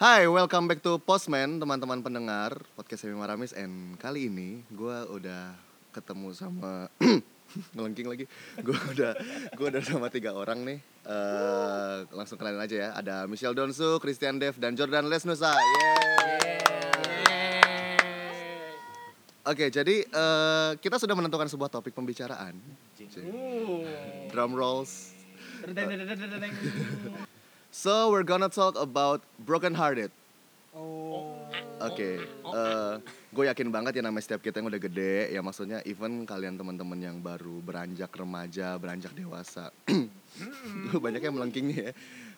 Hai, welcome back to Postman, teman-teman pendengar podcast Semi Maramis. And kali ini gue udah ketemu sama ngelengking lagi. Gue udah gue udah sama tiga orang nih. Eh, langsung kenalin aja ya. Ada Michelle Donsu, Christian Dev, dan Jordan Lesnusa. Yeay. Oke, jadi eh, kita sudah menentukan sebuah topik pembicaraan. Drum rolls. So we're gonna talk about broken hearted. Oh. Oke, eh, gue yakin banget ya namanya setiap kita yang udah gede, ya maksudnya even kalian teman-teman yang baru beranjak remaja, beranjak dewasa, gue banyak yang melengkingnya ya,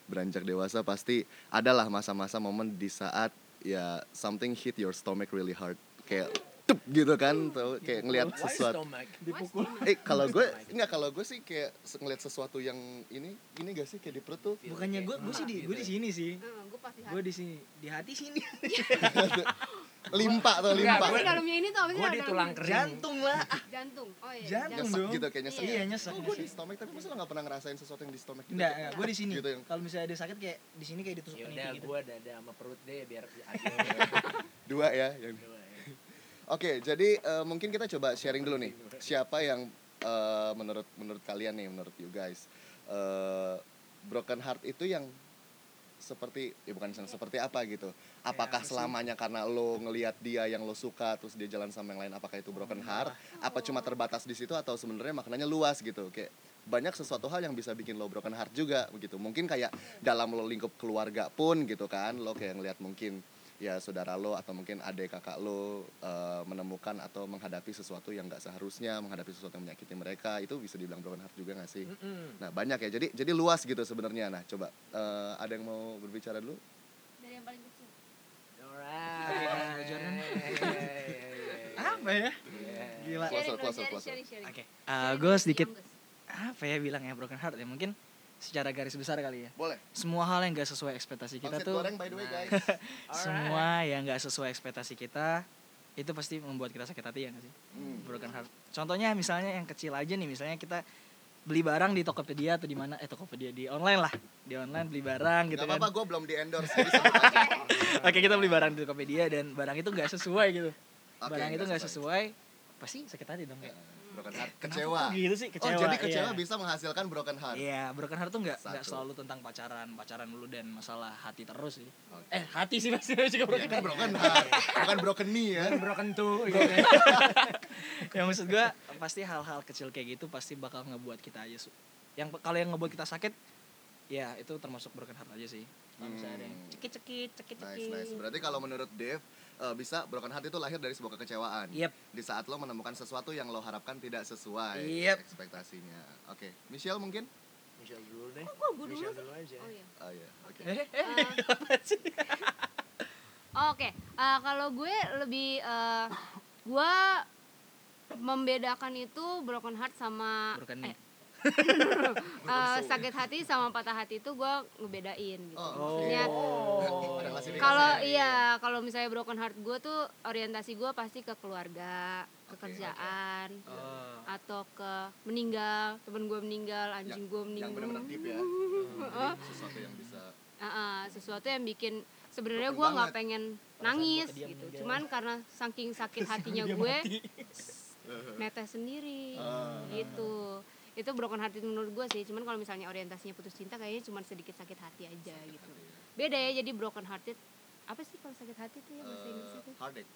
beranjak dewasa pasti adalah masa-masa momen di saat ya something hit your stomach really hard, kayak tup gitu kan, tuh kayak ngelihat sesuatu. Dipukul. Eh kalau gue nggak kalau gue sih kayak se- ngelihat sesuatu yang ini ini gak sih kayak di perut tuh. Bukannya gue gue sih di gue di sini sih. gue pasti Gue di sini di hati sini. limpa tuh Apa limpa sih dalamnya ini tuh apa sih Gue di dalam- tulang kering. Jantung lah. Jantung. Oh iya. Jantung nyesek dong. gitu kayaknya nyesek Iya nyesek. oh gue di stomach tapi masa lo gak pernah ngerasain sesuatu yang di stomach gitu Enggak, enggak. gue di sini. Gitu yang- Kalau misalnya ada sakit kayak di sini kayak ditusuk Yaudah peniti gitu. gue Ya dada sama perut deh biar dua ya yang- oke jadi eh, mungkin kita coba sharing dulu nih siapa yang eh, menurut menurut kalian nih menurut you guys eh, broken heart itu yang seperti ya bukan yang seperti apa gitu apakah selamanya karena lo ngelihat dia yang lo suka terus dia jalan sama yang lain apakah itu broken heart apa cuma terbatas di situ atau sebenarnya maknanya luas gitu kayak banyak sesuatu hal yang bisa bikin lo broken heart juga begitu mungkin kayak dalam lo lingkup keluarga pun gitu kan lo kayak ngelihat mungkin ya saudara lo atau mungkin adik kakak lo eh, menemukan atau menghadapi sesuatu yang nggak seharusnya menghadapi sesuatu yang menyakiti mereka itu bisa dibilang broken heart juga nggak sih Hmm. Nah banyak ya, jadi jadi luas gitu sebenarnya. Nah coba eh, ada yang mau berbicara dulu? Dari yang paling kecil. Oke, Jordan. Apa ya? Gila. Close, Sharing, close, sharing, close. sharing, sharing. Oke. eh, gue sedikit apa ya bilang ya broken heart ya mungkin secara garis besar kali ya. Boleh. Semua hal yang gak sesuai ekspektasi kita Pangsit tuh Nah. goreng by the way guys. semua yang gak sesuai ekspektasi kita itu pasti membuat kita sakit hati ya gak sih? Hmm. broken heart. Contohnya misalnya yang kecil aja nih, misalnya kita beli barang di Tokopedia atau di mana? Eh Tokopedia di online lah, di online beli barang gitu Gak kan. apa-apa, gue belum di endorse. jadi kan? sebut aja. Oke kita beli barang di Tokopedia dan barang itu nggak sesuai gitu. Oke, barang itu nggak nggak sesuai, pasti sakit hati dong. Eh, kayak. broken heart, kecewa. Kok Gitu sih Oh kecewa. jadi kecewa iya. bisa menghasilkan broken heart. Iya, broken heart tuh nggak nggak Satu. selalu tentang pacaran, pacaran dulu dan masalah hati terus sih. Oke. Eh hati sih pasti juga Ya, broken kan broken heart, bukan broken knee ya. Broken tuh gitu. ya maksud gue pasti hal-hal kecil kayak gitu pasti bakal ngebuat kita aja su- yang pe- kalau yang ngebuat kita sakit ya itu termasuk broken heart aja sih kalau misalnya ada yang Hmm. cekit-cekit cekit-cekit Nice, nice. Berarti kalau menurut Dave, eh, bisa broken heart itu lahir dari sebuah kekecewaan. Yep. Di saat lo menemukan sesuatu yang lo harapkan tidak sesuai Yep. ekspektasinya. Oke, Michelle mungkin? Michelle dulu deh. Kok gue dulu? Michelle dulu aja. Oh iya. Oh iya, oke. Eh, eh, Eh, apa sih? Oke, Eh, kalau gue lebih eh, gue membedakan itu broken heart sama broken eh, nih eh, sakit hati sama patah hati itu gue ngebedain gitu. Oh, Maksudnya Oh. Ada klasifikasi. kalau iya kalau misalnya broken heart gue tuh orientasi gue pasti ke keluarga, Oke, pekerjaan, Oh. atau ke meninggal temen gue meninggal anjing gue yang meninggal benar-benar deep ya. Uh-huh. Jadi sesuatu yang bisa Heeh, sesuatu yang bikin sebenarnya Broken gue nggak banget. pengen Perasaan nangis gua ke dia gitu meninggal. cuman karena saking sakit hatinya gue netes sendiri gitu itu broken hearted menurut gue sih cuman kalau misalnya orientasinya putus cinta kayaknya cuman sedikit sakit hati aja gitu beda ya jadi broken hearted apa sih kalau sakit hati tuh ya bahasa Inggrisnya tuh eh, heartache.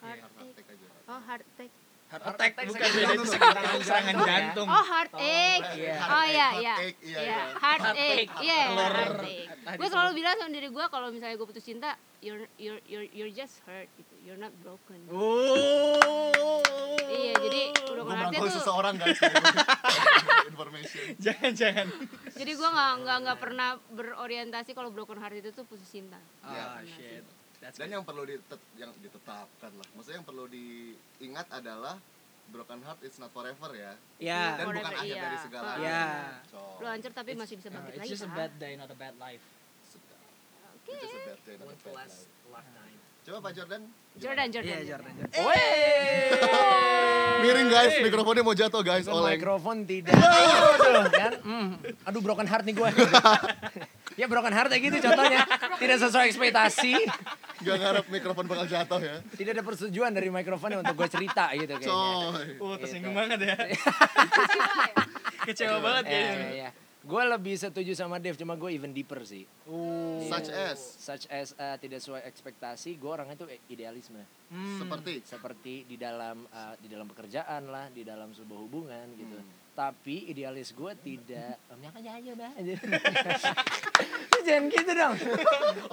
Iya, heartache Heartache aja. oh heartache heart attack bukan sakit Iya, beda jantung. serangan serangan jantung oh heartache Iya. oh iya iya Heartache, iya, Iya, iya. heartache. Iya, Telur. heartache. Gue selalu bilang sama diri gue kalau misalnya gue putus cinta, you're you're you're you're just hurt gitu. You're not broken. Oh. Iya, jadi udah Gue ngerti merangkul tuh. seseorang guys. Information. jangan jangan Jadi gue nggak nggak nggak pernah berorientasi kalau broken heart itu tuh putus cinta. ah shit That's Dan good. yang perlu ditet yang ditetapkan lah. Maksudnya yang perlu diingat adalah broken heart is not forever ya. ya Dan Forever, bukan akhir iya. dari segala. ya So, Lo hancur tapi masih bisa Uh, bangkit it's lagi. just a kan? bad day not a bad life Oke. it's a bad day, not a One bad last life. lifetime. Coba Pak Jordan. Jordan, Iya, Jordan. Jordan. Miring guys, mikrofonnya mau jatuh guys. Mikrofon tidak. Aduh, kan? Hmm. Aduh broken heart nih gue. Ya broken heart ya gitu contohnya. Tidak sesuai ekspektasi. Gak ngarep mikrofon bakal jatuh ya. Tidak ada persetujuan dari mikrofonnya untuk gue cerita gitu kayaknya. Coy. Oh, tersinggung Gitu. banget ya. Kecewa banget Eh, kayaknya. iya, iya. Gue lebih setuju sama Dev, cuma gue even deeper sih. Oh. Such as Such as eh, tidak sesuai ekspektasi, gue orangnya tuh idealisme. Hmm. seperti Seperti di dalam eh, di dalam pekerjaan lah, di dalam sebuah hubungan gitu. Tapi idealis gue tidak. Hmm. Om yang aja aja udah. Jangan gitu dong.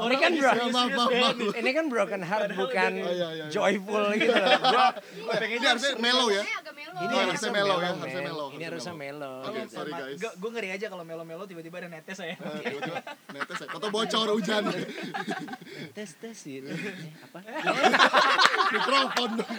Ini kan bro, serius, Iya, maaf, maaf, maaf. ini kan broken heart Padahal bukan udah Oh, iya, iya, iya. joyful gitu. loh. Gua Ini harusnya mellow ya. Saya agak melo. Ini Oh, harusnya harusnya mellow ya, men. harusnya mellow, Ini harusnya harusnya melo. Oke, sorry guys. Gue ngeri aja kalau melo-melo tiba-tiba ada netes saya. Eh, tiba-tiba Netes ya. Atau bocor hujan. Tes tes gitu. Iya. Eh, apa? Mikrofon dong.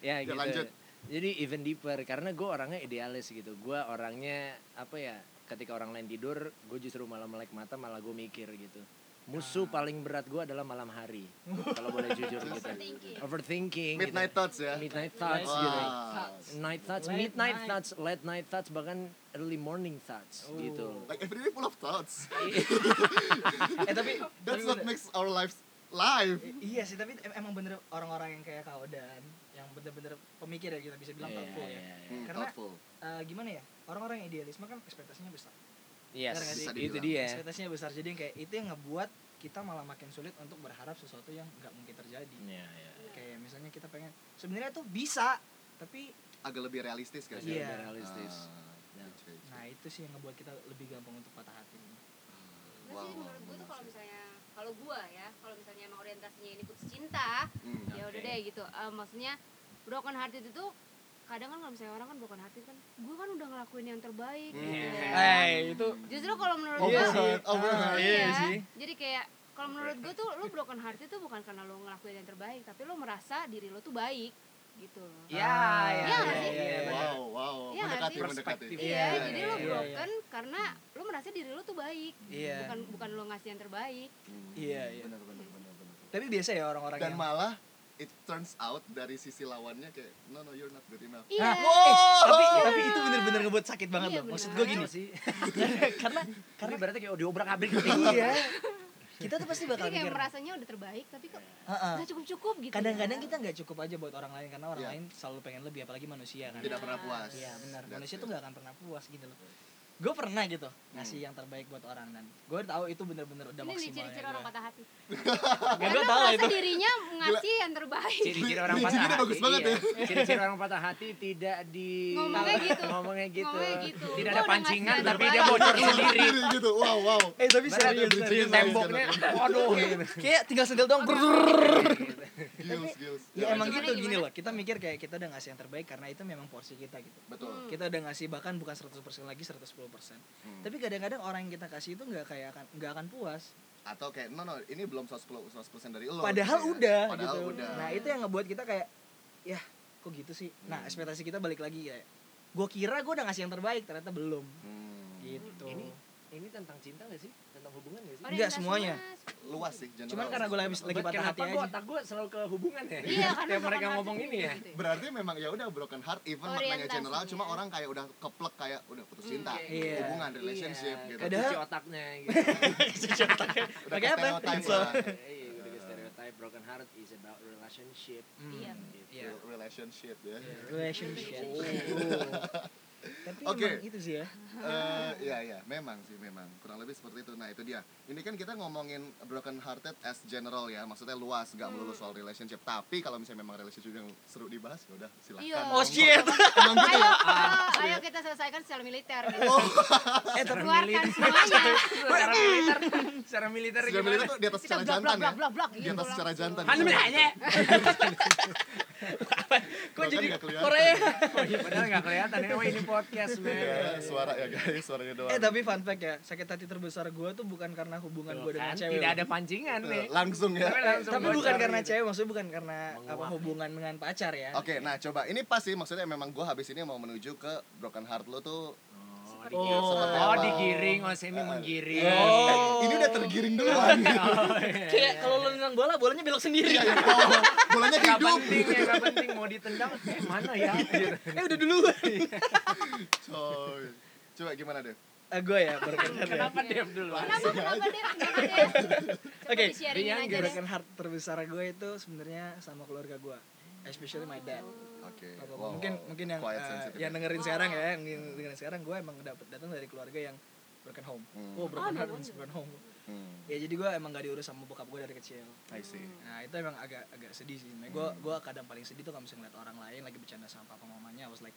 Ya Ya, gitu. lanjut. Jadi even deeper karena gue orangnya idealis gitu. Gue orangnya apa ya? Ketika orang lain tidur, gue justru malah melek mata, malah gue mikir gitu. Musuh Ah. paling berat gue adalah malam hari. Kalau boleh jujur gitu. Overthinking. Overthinking. gitu. Midnight thoughts ya. Midnight thoughts gitu. Wah. Night thoughts, Late midnight night. thoughts, late night thoughts, bahkan early morning thoughts Oh. gitu. Like every day full of thoughts. eh tapi tapi That's what bener- makes our lives live. I- Iya sih, tapi em- emang bener orang-orang yang kayak kau dan yang bener-bener pemikir ya kita bisa bilang Iya, thoughtful ya. iya, iya. Hmm, Karena- thoughtful. Eh, gimana ya? Orang-orang yang idealisme kan ekspektasinya besar. Yes, Benar nggak sih? Bisa itu dibilang. Iya. dia. Iya, Ekspektasinya besar jadi yang kayak itu yang ngebuat kita malah makin sulit untuk berharap sesuatu yang nggak mungkin terjadi. Iya, iya. Kayak misalnya kita pengen sebenarnya tuh bisa, tapi Agak lebih realistis kan? Iya. Agak realistis. Ah, oke, oke. nah itu sih yang ngebuat kita lebih gampang untuk patah hati. Wow, Terus sih wow, menurut gue wow, tuh kalau wow. misalnya kalau gue ya kalau misalnya emang orientasinya ini putus cinta Hmm. ya udah Oke. deh gitu Eh, maksudnya broken hearted itu kadang kan kalau misalnya orang kan broken hearted kan gue kan udah ngelakuin yang terbaik Hmm. gitu Eh, itu justru kalau menurut Iya gue sih. Ah, iya, iya sih. jadi kayak kalau menurut gue tuh lu broken hearted tuh bukan karena lu ngelakuin yang terbaik tapi lu merasa diri lu tuh baik gitu loh Ya, Ah, ya, Iya ya, nggak sih? ya, ya, benar. Wow, wow. Iya, Mendekati, ngerti. mendekati. Perspektif. Iya, Iya, jadi iya, lo iya, broken karena lo merasa diri lo tuh baik. Iya. Bukan bukan lo ngasih yang terbaik. Hmm. Iya, iya. Benar, benar, benar, benar. Tapi biasa ya orang-orang Dan yang malah it turns out dari sisi lawannya kayak no no you're not good enough. Iya. Ah, Eh, tapi tapi itu bener-bener ngebuat sakit banget Iya, loh. Maksud bener. gue gini. sih. karena Karena berarti kayak diobrak abrik iya. Kita tuh pasti bakal Jadi kayak mikir. merasanya udah terbaik tapi kok "Ha-ha." nggak cukup cukup gitu. Kadang-kadang ya. kita nggak cukup aja buat orang lain karena orang Iya. lain selalu pengen lebih apalagi manusia kan. Tidak pernah puas. Iya benar. That's Manusia it. tuh nggak akan pernah puas gitu loh. Gue pernah gitu Hmm. ngasih yang terbaik buat orang dan gue tahu itu bener-bener udah ini nih ciri-ciri orang maksimalnya. patah hati. gue Karena Ya, tahu lah merasa itu. dirinya ngasih yang terbaik. Ciri-ciri orang patah Ciri-cirinya hati. bagus banget iya. Ciri-ciri orang patah hati tidak di Ngomongnya gitu. Ngomongnya gitu. Ngomongnya gitu. Tidak Gua ada udah pancingan ngasih tapi yang dia bocor sendiri. Sendiri gitu. Wow, wow. Eh tapi serius. Iya, bridging serius. lagi. Temboknya waduh. gitu. Kayak tinggal sentil doang. Gills, gills. Ya emang Gimana, gitu gini gimana? loh. Kita mikir kayak kita udah ngasih yang terbaik karena itu memang porsi kita gitu. Betul. Hmm. Kita udah ngasih bahkan bukan 100% lagi 110%. Hmm. Tapi kadang-kadang orang yang kita kasih itu nggak kayak akan nggak akan puas. Atau kayak no no ini belum 110 100% dari lo. padahal gitu ya. udah Padahal gitu. udah. Nah, itu yang ngebuat kita kayak ya kok gitu sih. Nah, Hmm. ekspektasi kita balik lagi kayak gue kira gue udah ngasih yang terbaik ternyata belum Hmm. gitu. Ini ini tentang cinta gak sih? Tentang hubungan gak sih? Orientasinya- Nggak semuanya. Luas sih general. Cuman karena gue habis lagi patah hati kenapa aja. gua otak gua selalu ke hubungan ya? Iya karena Yang mereka broken ngomong hearted ini ya. gitu Berarti memang ya udah broken heart even maknanya Orientasinya. general cuma orang kayak udah keplek kayak udah putus cinta, Iya. hubungan relationship Iya, gitu. Padahal- kecuci otaknya gitu. udah Pakai apa? stereotype Pixel. lah. Iya, gitu ke stereotype broken heart is about relationship. Hmm, Iya. Gitu. Iya. Relationship ya. Relationship. Oh. Tapi Oke. emang itu sih ya. Eh, Iya iya, memang sih memang kurang lebih seperti itu. Nah itu dia. Ini kan kita ngomongin broken hearted as general ya, maksudnya luas, nggak melulu Hmm. soal relationship. Tapi kalau misalnya memang relationship yang seru dibahas, ya udah silahkan. Iya. Oh shit. Emang gitu Ayo, ya? eh, ayo kita selesaikan secara militer. Gitu. Eh, tapi Keluarkan semuanya. secara militer, secara militer Secara militer gimana? tuh di atas Kita secara blok jantan blok ya. blok blok Gitu Di blok. atas secara jantan. Iya. Hanum hanya. Kok jadi Korea. Padahal nggak kelihatan ya. Wah ini podcast Ya, men. suara ya guys, suaranya doang. Eh tapi fun fact ya, sakit hati terbesar gue tuh bukan karena hubungan Tuh gue dengan kan, cewek. Tidak loh. ada pancingan Tuh, nih. langsung ya. Tapi langsung Tapi bocor bukan karena gitu. cewek, maksudnya bukan karena apa Menguap. hubungan dengan pacar ya. Oke, nah coba ini pas sih maksudnya memang gue habis ini mau menuju ke broken heart lo tuh. Oh. Oh, digiring. Seperti oh, apa? digiring. Oh, semi menggiring. Oh. Eh, Ini udah tergiring duluan. Kayak kalau lo nendang bola, bolanya belok sendiri. Oh, bolanya Gak hidup. penting ya, gak penting mau ditendang. Eh, mana ya? eh udah dulu. Coy. Coba gimana deh? eh, gue ya broken heart ya. Kenapa diam Iya. dulu? Kenapa kenapa deh? Kenapa deh? Coba Oke, di-sharingin yang aja deh. broken heart terbesar gue itu sebenarnya sama keluarga gue, especially my dad. Oke. Apa- Wow, mungkin wow. mungkin yang Quiet, eh, sensitive yang ya. dengerin Wow. sekarang ya, yang dengerin sekarang gue emang dapet datang dari keluarga yang broken home. Hmm. Oh, broken Oh, heart no means wonder. broken home. Hmm. Ya jadi gue emang gak diurus sama bokap gue dari kecil. I see. Nah itu emang agak agak sedih sih. Nah, gue Hmm. gua kadang paling sedih tuh kalau misalnya ngeliat orang lain lagi bercanda sama papa mamanya, I was like,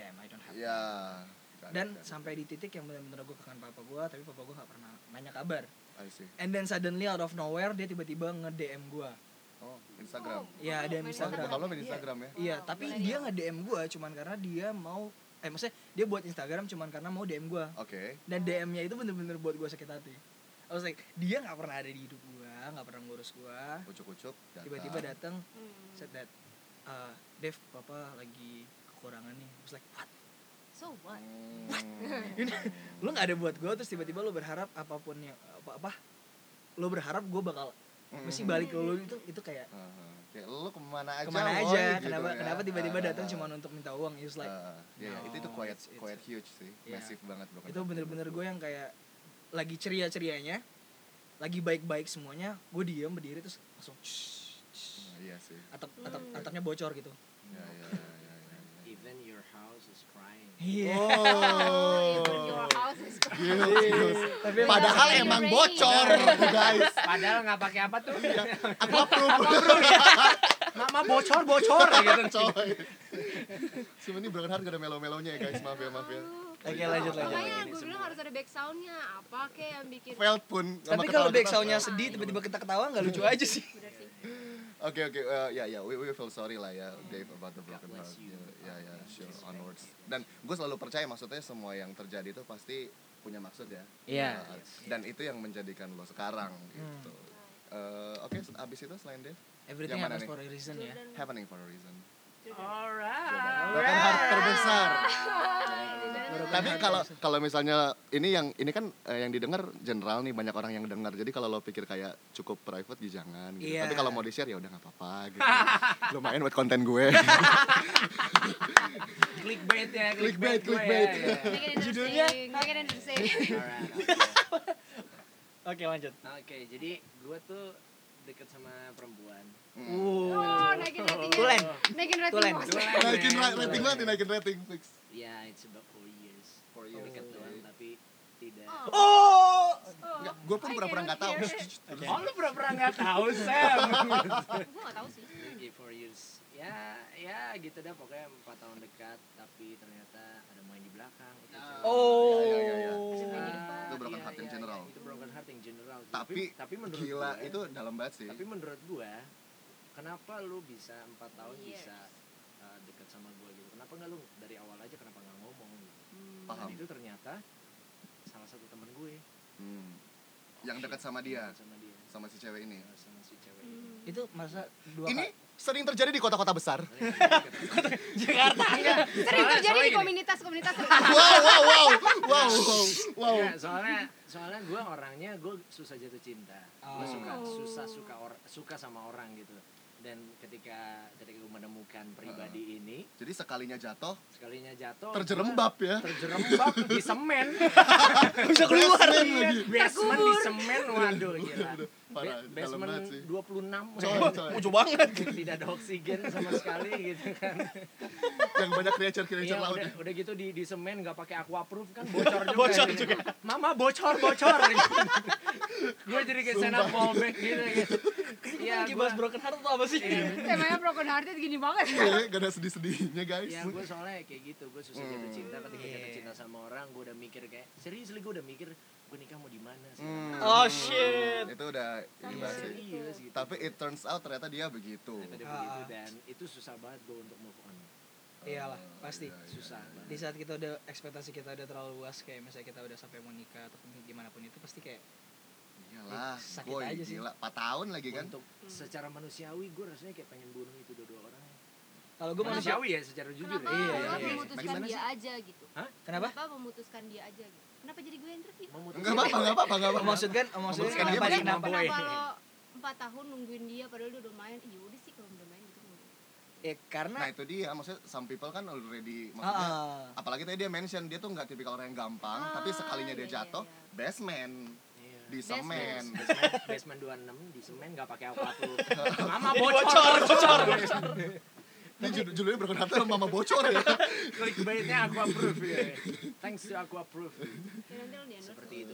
damn I don't have. Ya. that." got it, Dan got it. sampai di titik yang benar-benar gue kangen papa gue, tapi papa gue gak pernah nanya kabar. I see. And then suddenly out of nowhere dia tiba-tiba nge DM gue. Oh, Instagram. Oh, Ya, ada yang main Oh, Instagram. bokap lo main Instagram ya? Iya, Wow, tapi keren dia ya. nggak DM gue cuman karena dia mau eh maksudnya dia buat Instagram cuman karena mau DM gue. Oke. Dan DM-nya itu bener-bener buat gue sakit hati. I was like, dia nggak pernah ada di hidup gue, nggak pernah ngurus gue. Ucuk-ucuk. datang. Tiba-tiba datang Hmm. said that uh, Dev papa lagi kekurangan nih. I was like, what? So what? Hmm. Lu nggak ada buat gue terus tiba-tiba lu berharap apapun yang apa apa lu berharap gue bakal mesti balik ke lu itu itu kayak Heeh. Hmm. Uh-huh. Kayak lo kemana aja? kemana woy, aja gitu kenapa ya. kenapa Ah, tiba-tiba ah, datang ah. cuman untuk minta uang it's like Ah, ya, ya, itu itu no, quiet it's- it's quiet a- huge sih Iya. massive banget broken itu heart. bener-bener gue yang kayak lagi ceria-cerianya lagi baik-baik semuanya gue diem berdiri terus langsung shh, shh. Ah, iya sih atap atap Hmm. atapnya bocor gitu ya ya ya, ya, ya, ya. Even your house is crying. iya oh Even your house is Gils, gils. tapi emang- padahal You're emang ready. bocor Iya. guys Padahal nggak pakai apa tuh. aku approve Iya. Iya. Mama bocor bocor gitu. coy cuma ini broken heart gak ada melo-melonya ya guys maaf ya maaf ya Oke, Iya, lanjut, lanjut, Makanya lanjut. gue bilang harus ada back soundnya apa kek yang bikin Felt pun sama tapi kalau ketawa-ketawa. back soundnya sedih tiba-tiba kita ketawa Iya. nggak lucu aja sih bener sih. Oke oke eh, ya ya we we feel sorry lah ya Dave about the broken heart. bless you. Ya ya sure onwards. Dan gue selalu percaya maksudnya semua yang terjadi itu pasti punya maksud ya. Iya. Hmm. Eh, Dan itu yang menjadikan lo sekarang gitu. Eh, oke se- abis itu selain Dave everything Yang mana happens nih? for a reason ya Jordan, happening for a reason. Alright. Broken heart terbesar. Tapi heart kalau kalau misalnya ini yang ini kan eh, yang didengar general nih banyak orang yang dengar. Jadi kalau lo pikir kayak cukup private ya jangan gitu. Iya. Tapi kalau mau di-share ya udah nggak apa-apa gitu. Lumayan buat konten gue. Iya. Clickbait ya. Clickbait, gue ya, clickbait. ya. make it Judulnya- interesting, make it interesting. Alright, oke lanjut Oke, Oke, jadi gue tuh deket sama perempuan. Uh, Oh, naikin ratingnya. Tulen. Naikin rating Tulen. bos. Dua, naikin men, ra- dua. rating banget, naikin rating fix. Ya, it's about four years. Four years. Deket doang, tapi tidak. Oh. oh Enggak, gue pun I pura-pura cannot nggak tahu. hear it. Oh, lu pura-pura nggak tahu, Sam. Gue gak tau sih. Lagi four years. Ya, ya gitu dah. Pokoknya empat tahun dekat, tapi ternyata ada main di belakang. Itu jelek. oh Ya, ya, ya, ya. Ah, Itu broken iya, heart in iya, general. iya, Itu broken heart in general. Tapi, tapi menurut gila gua- itu dalam banget sih. Tapi menurut gua, kenapa lu bisa empat tahun Years. bisa uh, dekat sama gua gitu? Kenapa nggak lu dari awal aja kenapa nggak ngomong? Gitu? Dan Paham. itu ternyata salah satu temen gue. Hmm. Yang Shit, dekat sama yang dia. dekat sama dia, Sama si cewek ini. Sama- sama si cewek ini. Hmm. Oh. itu masa dua Ini kali- sering terjadi di kota-kota besar. Jakarta enggak. Sering terjadi di komunitas. komunitas-komunitas wow, tertentu. wow, wow, wow, wow, wow. Iya, soalnya soalnya gue orangnya gue susah jatuh cinta. Gue Oh. suka Oh. susah suka or- suka sama orang gitu. Dan ketika ketika gue menemukan pribadi ini, Jadi sekalinya jatuh, sekalinya jatuh terjerembab ya. gua terjerembab di semen. Bisa keluar Iya. lagi. basement di semen waduh gila. Parah, Ba- dalam basement banget sih. 26 Coy, coy. Lucu banget tidak ada oksigen sama sekali gitu kan. Yang banyak creature-creature Iya, laut udah, ya. udah gitu di di semen nggak pakai aquaproof kan bocor juga. Bocor gitu. juga. Mama bocor bocor. gue jadi kayak stand up Sumpah. fallback gitu. gitu. Iya, Kita Kan lagi bahas broken heart atau apa sih? Temanya broken hearted gini banget. Iya, gak ada sedih-sedihnya guys. Ya gue soalnya kayak gitu, gue susah jatuh Hmm. cinta ketika Iya. jatuh cinta sama orang, gue udah mikir kayak serius gue udah mikir gue nikah mau di mana sih? Iya, Hmm. Oh, shit. Itu udah ini Sama banget sih. serius gitu. Tapi it turns out ternyata dia begitu. Ternyata dia Ah. begitu dan itu susah banget gue untuk move on. Hmm. Iyalah, pasti. Iya, Susah banget. Di saat kita udah ekspektasi kita udah terlalu luas kayak misalnya kita udah sampai mau nikah atau gimana pun itu pasti kayak Iyalah, Sakit boy, aja sih. gila. 4 tahun lagi kan. Untuk secara manusiawi gue rasanya kayak pengen bunuh itu dua-dua orang. kalau gue manusia manusiawi ya secara jujur. Kenapa ya. Iya, lo iya. memutuskan Bagaimana dia sih? aja gitu? kenapa? Kenapa memutuskan dia aja gitu? Kenapa jadi gue yang interview? Memutuskan- Enggak apa-apa, enggak apa-apa, enggak apa-apa. Maksud kan, maksudnya Maksudnya dia kenapa masih dia kenapa? boy. Kenapa lo empat tahun nungguin dia padahal dia udah main? Iya udah sih kalau udah main gitu. Ya, karena Nah, itu dia. Maksudnya some people kan already Ah, maksudnya ah. apalagi tadi dia mention dia tuh nggak tipikal orang yang gampang tapi Ah, sekalinya dia iya, iya, jatuh iya. best man di Best man. semen Iya. basement 26 di semen gak pakai apa-apa. Mama bocor, bocor. ini judul judulnya broken heart mama bocor ya Oh, Clickbaitnya aku approve ya. Thanks to aku approve. Ya, nanti lo di endorse. Seperti itu.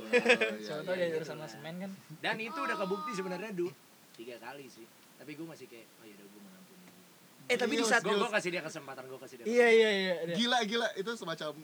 Iya, Siapa iya, tahu dia iya. jurusan sama semen kan. Dan itu udah kebukti sebenarnya du tiga kali sih. Tapi gue masih kayak oh ya udah gue mengampuni. Eh tapi di saat gue gue kasih dia kesempatan gue kasih dia. Iya iya iya. iya. gila gila itu semacam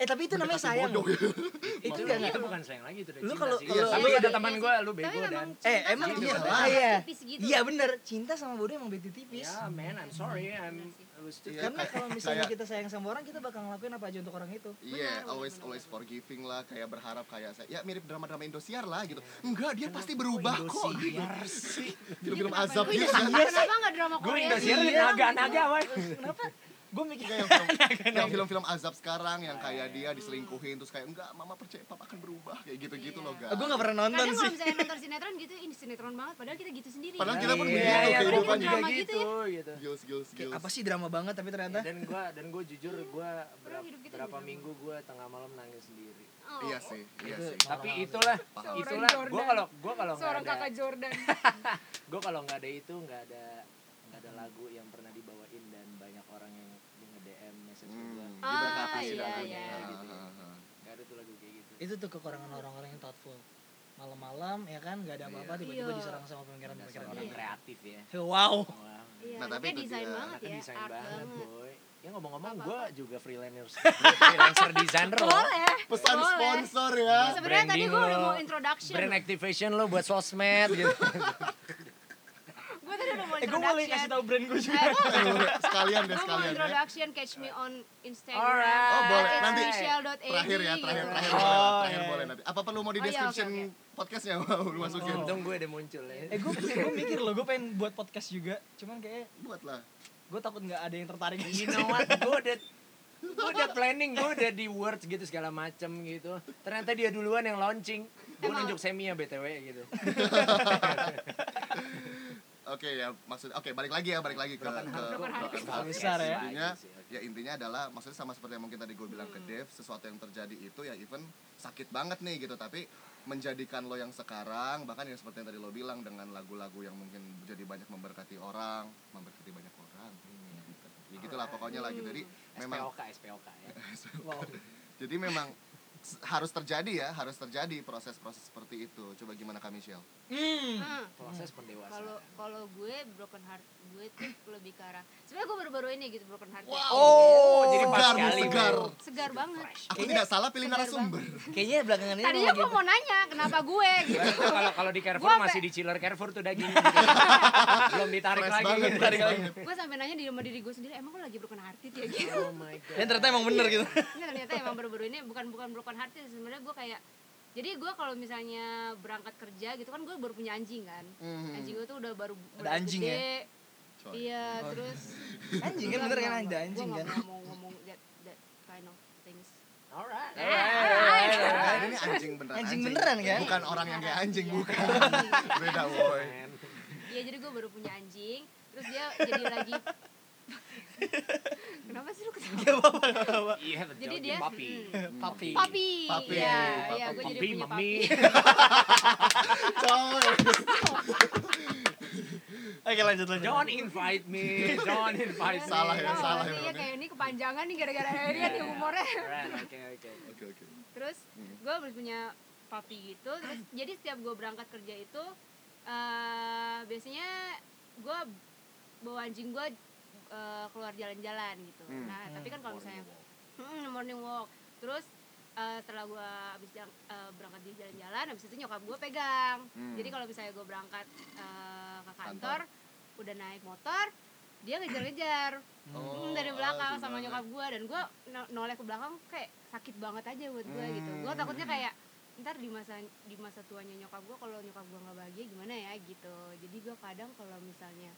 Eh tapi itu namanya sayang. bodoh gitu. loh. ya. Itu itu, enggak itu enggak. bukan sayang lagi itu Lu udah cinta kalau- sih. kalau- tapi iya, ada iya, teman iya. gue lu Tapi bego memang dan cinta Eh, sama emang bodoh iya. tuh Iya. tipis gitu. Iya bener, cinta sama bodoh emang beda tipis. Ya man, I'm sorry, I'm I was stupid. Iya, Karena kayak- kalau misalnya kayak- kita sayang sama orang, kita bakal ngelakuin apa aja untuk orang itu. Iya, Benar, always benar, always benar. forgiving lah, kayak berharap kayak saya. Ya mirip drama-drama Indosiar lah gitu. Enggak, dia pasti berubah Ah, kok. gitu? Indosiar sih. Film-film Kenapa- azab iya, gitu kan. Kenapa nggak drama Gue Korea Iya. Indosiar sih? naga-naga wah. Kenapa? Gue mikir Kayak yang film- yang film-film azab sekarang yang kayak dia diselingkuhin terus kayak enggak, mama percaya papa akan berubah kayak gitu-gitu Iya. loh, guys. Gue gak pernah nonton Kadang sih. kalau misalnya nonton sinetron gitu, ini sinetron banget. Padahal kita gitu sendiri. Padahal kita pun Iya, begitu iya, kayak gua gitu pun aja. juga Drama gitu gitu gitu. Gils, gils, Kayak gils. apa sih drama banget tapi ternyata. Dan gue dan gue jujur gue berapa, hidup kita berapa juga. minggu gue tengah malam nangis sendiri. Oh. Iya sih, iya sih. Itu- tapi itulah Paham. itulah gue Jordan. kalau gue kalau nggak Seorang ada kakak Jordan. gue kalau nggak ada itu nggak ada nggak ada lagu yang pernah dibawain dan banyak orang yang nge DM message ke gue Hmm, Ah, diberkati sih iya, lagunya. Iya, iya. Ah, ah, ah. nggak ada tuh lagu kayak gitu Itu tuh kekurangan orang-orang yang thoughtful. Malam-malam ya kan nggak ada apa-apa tiba-tiba Iya. diserang sama pemikiran-pemikiran dasar orang gitu. kreatif ya Wow. Wah, Iya, Nah, tapi anaknya itu desain dia. banget anaknya ya, desain art banget, banget. boy ya ngomong-ngomong Nggak gue juga freelancer freelancer designer loh Boleh. Pesan Boleh. sponsor ya. Sebenarnya tadi Branding gue udah lo, mau introduction. brand activation lo buat sosmed gitu Gue tadi udah mau Eh gue boleh introduction. kasih tau brand gue juga. Sekalian deh, Gue mau sekalian ya. introduction, catch me on Instagram. Alright. Oh, boleh. It's Nanti Michelle.ad, terakhir ya terakhir terakhir boleh gitu. lah, Oh, terakhir iya. boleh nanti apa perlu mau di Oh, iya, description oke, podcastnya mau lu masukin Oh. untung gue udah muncul Eh ya gue gue mikir loh, gue pengen buat podcast juga. Cuman kayaknya buatlah gue takut nggak ada yang tertarik. you know what gue udah gue udah planning gue udah di words gitu segala macem gitu ternyata dia duluan yang launching gue Emang. nunjuk semi ya btw gitu oke ya maksud oke balik lagi ya balik lagi ke Broken ke heart. broken heart. heart. Besar Iya, ya. intinya ya intinya adalah maksudnya sama seperti yang mungkin tadi gue bilang ke Hmm. Dev sesuatu yang terjadi itu ya even sakit banget nih gitu tapi menjadikan lo yang sekarang bahkan yang seperti yang tadi lo bilang dengan lagu-lagu yang mungkin jadi banyak memberkati orang memberkati banyak orang Hmm. ya gitulah pokoknya lah gitu jadi memang SPOK SPOK ya Wow. Jadi memang s- harus terjadi ya, harus terjadi proses-proses seperti itu. Coba gimana Kak Michelle? Hmm. Hmm. proses pendewasaan Kalau kalau gue broken heart gue tuh lebih ke arah. Sebenarnya gue baru-baru ini gitu broken heart. Oh, jadi pas segar, sekali, segar. Bro. Segar banget. Aku tidak salah pilih segar narasumber. Kayaknya belakangan ini gitu. Tadinya gue mau nanya kenapa gue gitu. Gua kalau kalau di Carrefour Gua masih sampe- di chiller Carrefour tuh daging. Belum ditarik Fresh lagi. banget, gitu. fresh banget. Gue sampai nanya di rumah diri gue sendiri emang lo lagi broken hearted ya gitu. Oh my god. Dan ternyata emang bener gitu. Ini ternyata emang baru-baru ini bukan bukan broken heart sih sebenarnya gue kayak jadi gue kalau misalnya berangkat kerja gitu kan gue baru punya anjing kan Hmm. anjing gue tuh udah baru Ada anjing ya? Coy. iya terus Anjing kan Gua bener kan nggak- ada anjing gua kan. nggak mau ngomong that, that kind of things Alright. Nah, ini anjing beneran. Anjing beneran, kan? Bukan orang yang kayak anjing, Iya. bukan. Beda boy. iya jadi gue baru punya anjing terus dia jadi lagi kenapa sih lu ketawa You have a jadi dog dia and puppy. hmm, Papi. papi Papi. iya iya gue jadi Papi, punya mami. papi Coy. Oke lanjut lanjut. Don't invite me. Don't invite me. Salah ya, Tau nggak salah ya, sih, iya, Bang, ya. kayak ini kepanjangan nih gara-gara Arian nih umurnya Alright, oke oke. Oke oke. terus Hmm. gue baru punya papi gitu terus jadi setiap gue berangkat kerja itu eh biasanya gue bawa anjing gue eh, keluar jalan-jalan gitu Hmm. nah tapi kan kalau misalnya Mm, morning walk terus eh, setelah gue abis jang- eh, berangkat di jalan-jalan abis itu nyokap gue pegang Hmm. jadi kalau misalnya gue berangkat eh, ke kantor Kantor. udah naik motor dia ngejar-ngejar Oh, Mm, dari belakang ah, sama gimana? nyokap gue dan gue no- noleh ke belakang kayak sakit banget aja buat gue gitu gue Hmm. takutnya kayak ntar di masa di masa tuanya nyokap gue kalau nyokap gue nggak bahagia gimana ya gitu jadi gue kadang kalau misalnya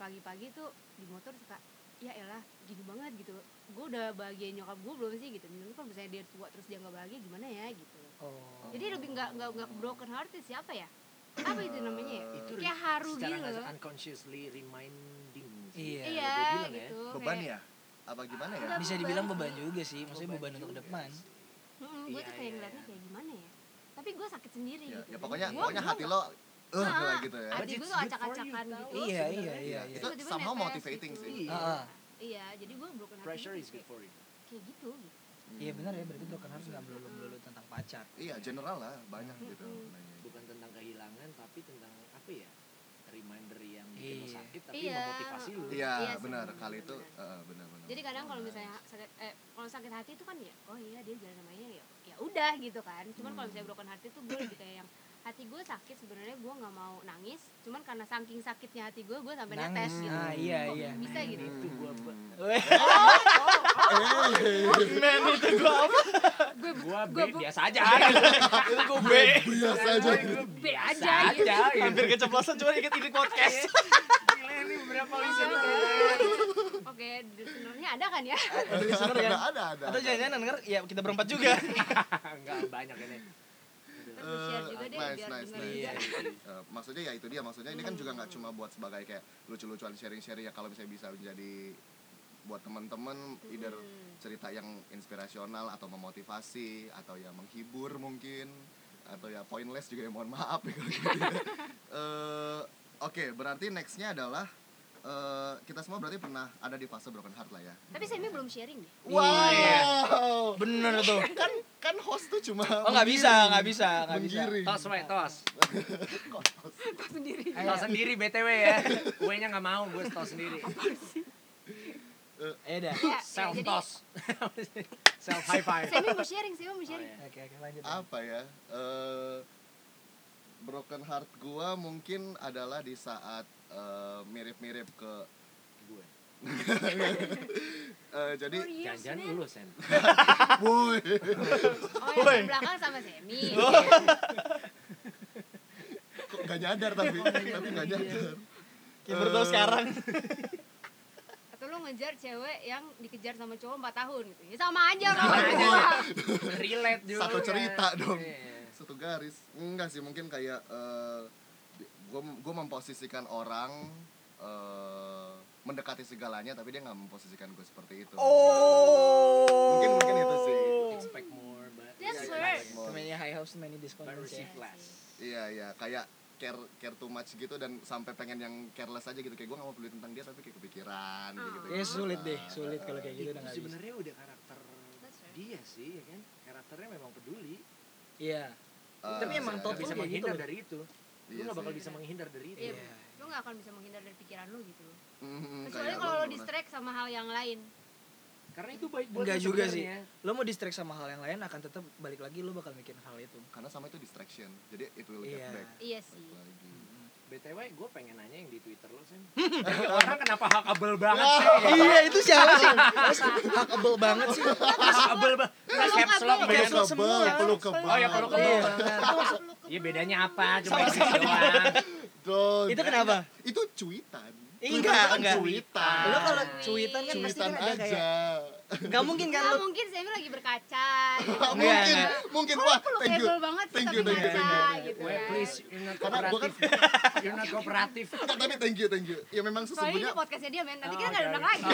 pagi-pagi tuh di motor suka ya elah gini banget gitu gue udah bahagia nyokap gue belum sih gitu Mungkin kalau misalnya dia tua terus dia nggak bahagia gimana ya gitu Oh. jadi lebih nggak nggak nggak broken hearted siapa ya apa itu namanya ya? Itu kayak haru secara gitu nggak loh unconsciously reminding. Iya. sih. Kalau gua iya bilang ya. gitu Beban kayak- ya? apa gimana ya? Bisa dibilang beban juga sih, maksudnya beban untuk depan. gue Iya, tuh kayak iya, ngeliatnya kayak gimana ya tapi gue sakit sendiri Ya, gitu ya Dan pokoknya gua- pokoknya gua hati lo eh Ah, lah gitu ya. hati gue tuh acak-acakan gitu Iya, iya, iya, Iya, iya. Itu Tiba-tiba somehow netes motivating gitu. sih. Iya. Ah, ah. iya jadi gue broken hati Pressure tuh is good kayak, for you. kayak gitu gitu Iya benar ya, berarti broken heart nggak melulu melulu tentang pacar. Iya, general lah banyak gitu. Mm-mm. sebenarnya. Bukan tentang kehilangan tapi tentang apa ya? Reminder yang bikin lo Iya. sakit tapi Iya. memotivasi lo. Iya, Iya sih, benar. benar, Kali itu benar. eh, benar-benar. jadi kadang Oh, kalau nice. misalnya sakit eh kalau sakit hati itu kan ya oh iya dia jalan namanya ya ya udah gitu kan cuman kalau misalnya broken hati tuh gue lebih kayak yang hati gue sakit sebenarnya gue nggak mau nangis cuman karena saking sakitnya hati gue gue sampai netes Nangis. gitu Ah, iya, Kok iya. bisa gitu Itu Hmm, gua gua- Weh, Eh, iya, gue gua B Gua bu- biasa aja. Itu gua B. biasa aja. Gua B aja Iya, gitu. hampir keceplosan cuma inget-inget podcast. iya. Gila ini berapa listener? Iya. oke sebenarnya ada kan ya Hampir keceplosan ya. Ada ada ada. Atau jangan-jangan denger, ya kita berempat juga. Enggak banyak ini. Ntar gue share Eh, juga deh nice, biar Iya. nice, denger nice. juga. Eh, maksudnya ya itu dia maksudnya ini kan juga nggak cuma buat sebagai kayak lucu-lucuan sharing-sharing ya kalau misalnya bisa menjadi buat teman-teman either Hmm. cerita yang inspirasional atau memotivasi atau ya menghibur mungkin atau ya pointless juga ya mohon maaf ya kalau gitu ya. Eh, oke berarti nextnya adalah eh, kita semua berarti pernah ada di fase broken heart lah ya tapi Semi belum sharing deh Iya. wow Bener tuh. kan kan host tuh cuma Oh nggak bisa, nggak bisa, nggak bisa. menggiring Tos, we, tos. sendiri Tos sendiri BTW ya. Gue nya enggak mau, gue tos sendiri. Ya udah. Ya, ya, Self jadi tos. Self high five. Semi mau sharing Semi mau sharing Oh, Oke, oke lanjut. apa ya eh, broken heart gua mungkin adalah di saat eh, mirip-mirip ke Gue. eh, jadi Oh, iya, Jangan-jangan Semi. lu sen. woi Oh, yang paling belakang sama Semi. Gitu. kok gak nyadar tapi tapi gak nyadar Keyboard lo sekarang. Atau lu ngejar cewek yang dikejar sama cowok 4 tahun gitu. Ya sama aja orang Iya. Sama aja. berdua. Eh, Relate juga. Satu cerita dong. Iya. satu garis enggak sih mungkin kayak gue gue memposisikan orang eh, mendekati segalanya tapi dia nggak memposisikan gue seperti itu Oh. mungkin mungkin itu sih Expect more, but That's Yeah, worse. expect more, Temennya high house, temennya discount. But ya. receive less. iya iya kayak care care too much gitu dan sampai pengen yang careless aja gitu kayak gue nggak mau peduli tentang dia tapi kayak kepikiran Oh. kayak gitu eh, Ya sulit deh, sulit kalau kayak gitu Itu udah nggak bisa. sebenarnya udah karakter That's right. dia sih ya kan karakternya memang peduli Iya. Eh, Tapi emang ada- Tot lu Gak kayak bisa gitu menghindar loh. dari itu lu Iya gak bakal sih. bisa menghindar dari itu Iya. Iya. Lu gak akan bisa menghindar dari pikiran lu gitu. Mm, Kecuali kayak gua kalau lo pernah. distract sama hal yang lain. karena itu baik buat Enggak lu juga sih. sebenarnya. Lo mau distract sama hal yang lain akan tetap balik lagi lo bakal mikirin hal itu. karena sama itu distraction jadi it will get Iya. back Iya Balik sih. lagi btw gue pengen nanya yang di twitter lo sen Ini orang kenapa hakabel banget sih Iya itu siapa sih? Hakable banget sih. hakabel banget Nah, caps lock Peluk banget. Caps lock semua. Peluk kebal, peluk kebal. oh ya perlu Iya. kebel ya bedanya apa cuma Sama- itu doang Don. Iya. Itu kenapa? Iya, itu cuitan Enggak, Cuitan, enggak. cuitan Lo kalau cuitan kan pasti cuitan kan ada aja kayak Gak mungkin kan Nah, lo mungkin Semi lagi berkaca. Gitu. mungkin Enggak, enggak. mungkin Oh, wah peluk thank you able banget sih Thank tapi you, thank you, kaca thank you. gitu Weh, kan. please you're not ya. Karena gua kan- kooperatif you're not kooperatif Enggak, tapi thank you thank you ya memang Soalnya ini sesungguhnya podcastnya dia men, nanti Oh, kita gak oke, diundang oke. lagi.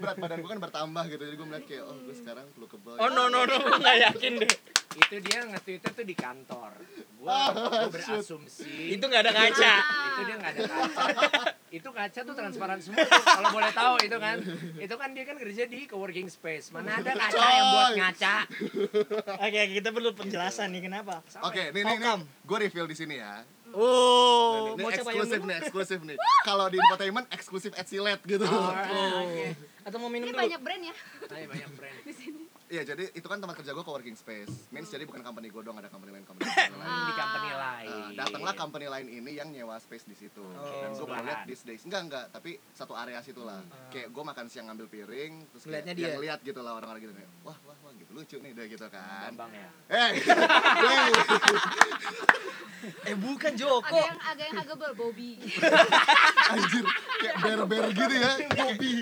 berat badan gue kan bertambah gitu jadi gue melihat kayak oh gue sekarang perlu kebal Oh no no no, gue gak yakin deh. itu dia nge-tweetnya tuh di kantor Ah, gua, gua berasumsi Itu gak ada kaca. itu dia nggak ada kaca itu kaca tuh transparan semua tuh, kalau boleh tahu itu kan itu kan dia kan kerja di co-working space mana ada kaca yang buat Coy. ngaca Oke, oke, kita perlu penjelasan nih kenapa. Oke, nih nih, nih. Kokam. gue reveal di sini ya. Oh, ini mau siapa yang eksklusif dulu? nih, eksklusif nih. Kalau di infotainment eksklusif at Silet gitu. Oh. Alright. Atau mau minum Ini dulu? banyak brand ya. Ayo banyak brand Iya, jadi itu kan tempat kerja gue co-working space. Means jadi bukan company gue doang, ada company lain, company lain. company lain. di company lain Eh, datanglah company lain ini yang nyewa space di situ. Oh, Dan gue Sebelahan. lihat these days enggak enggak, tapi satu area situ lah. Kayak gue makan siang ngambil piring, terus kayak Hmm. Ah. Ngeliatnya yang dia. lihat gitu lah orang-orang gitu kayak wah wah wah gitu lucu nih udah gitu kan. Bambang ya Eh, hey, Eh bukan Joko. Agak yang agak yang huggable Bobby. anjir kayak ber-ber gitu ya, Bobby.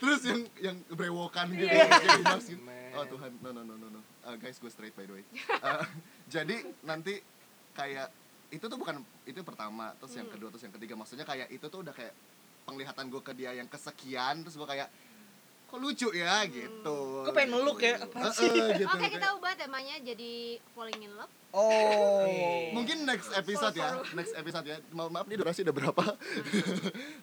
Terus yang yang brewokan gitu, Iya. kayak mas gitu. Man. Oh Tuhan, no no no no no. Uh, guys, gue straight by the way. Uh, jadi nanti Hmm. kayak itu tuh bukan itu pertama, terus yang kedua, terus yang ketiga. Maksudnya kayak itu tuh udah kayak penglihatan gue ke dia yang kesekian terus gue kayak kok lucu ya gitu Gua pengen meluk ya, apa sih? Eh, eh, gitu. Oke kita ubah temanya jadi falling in love. Oh. mungkin next episode ya next episode ya mohon maaf ini durasi udah berapa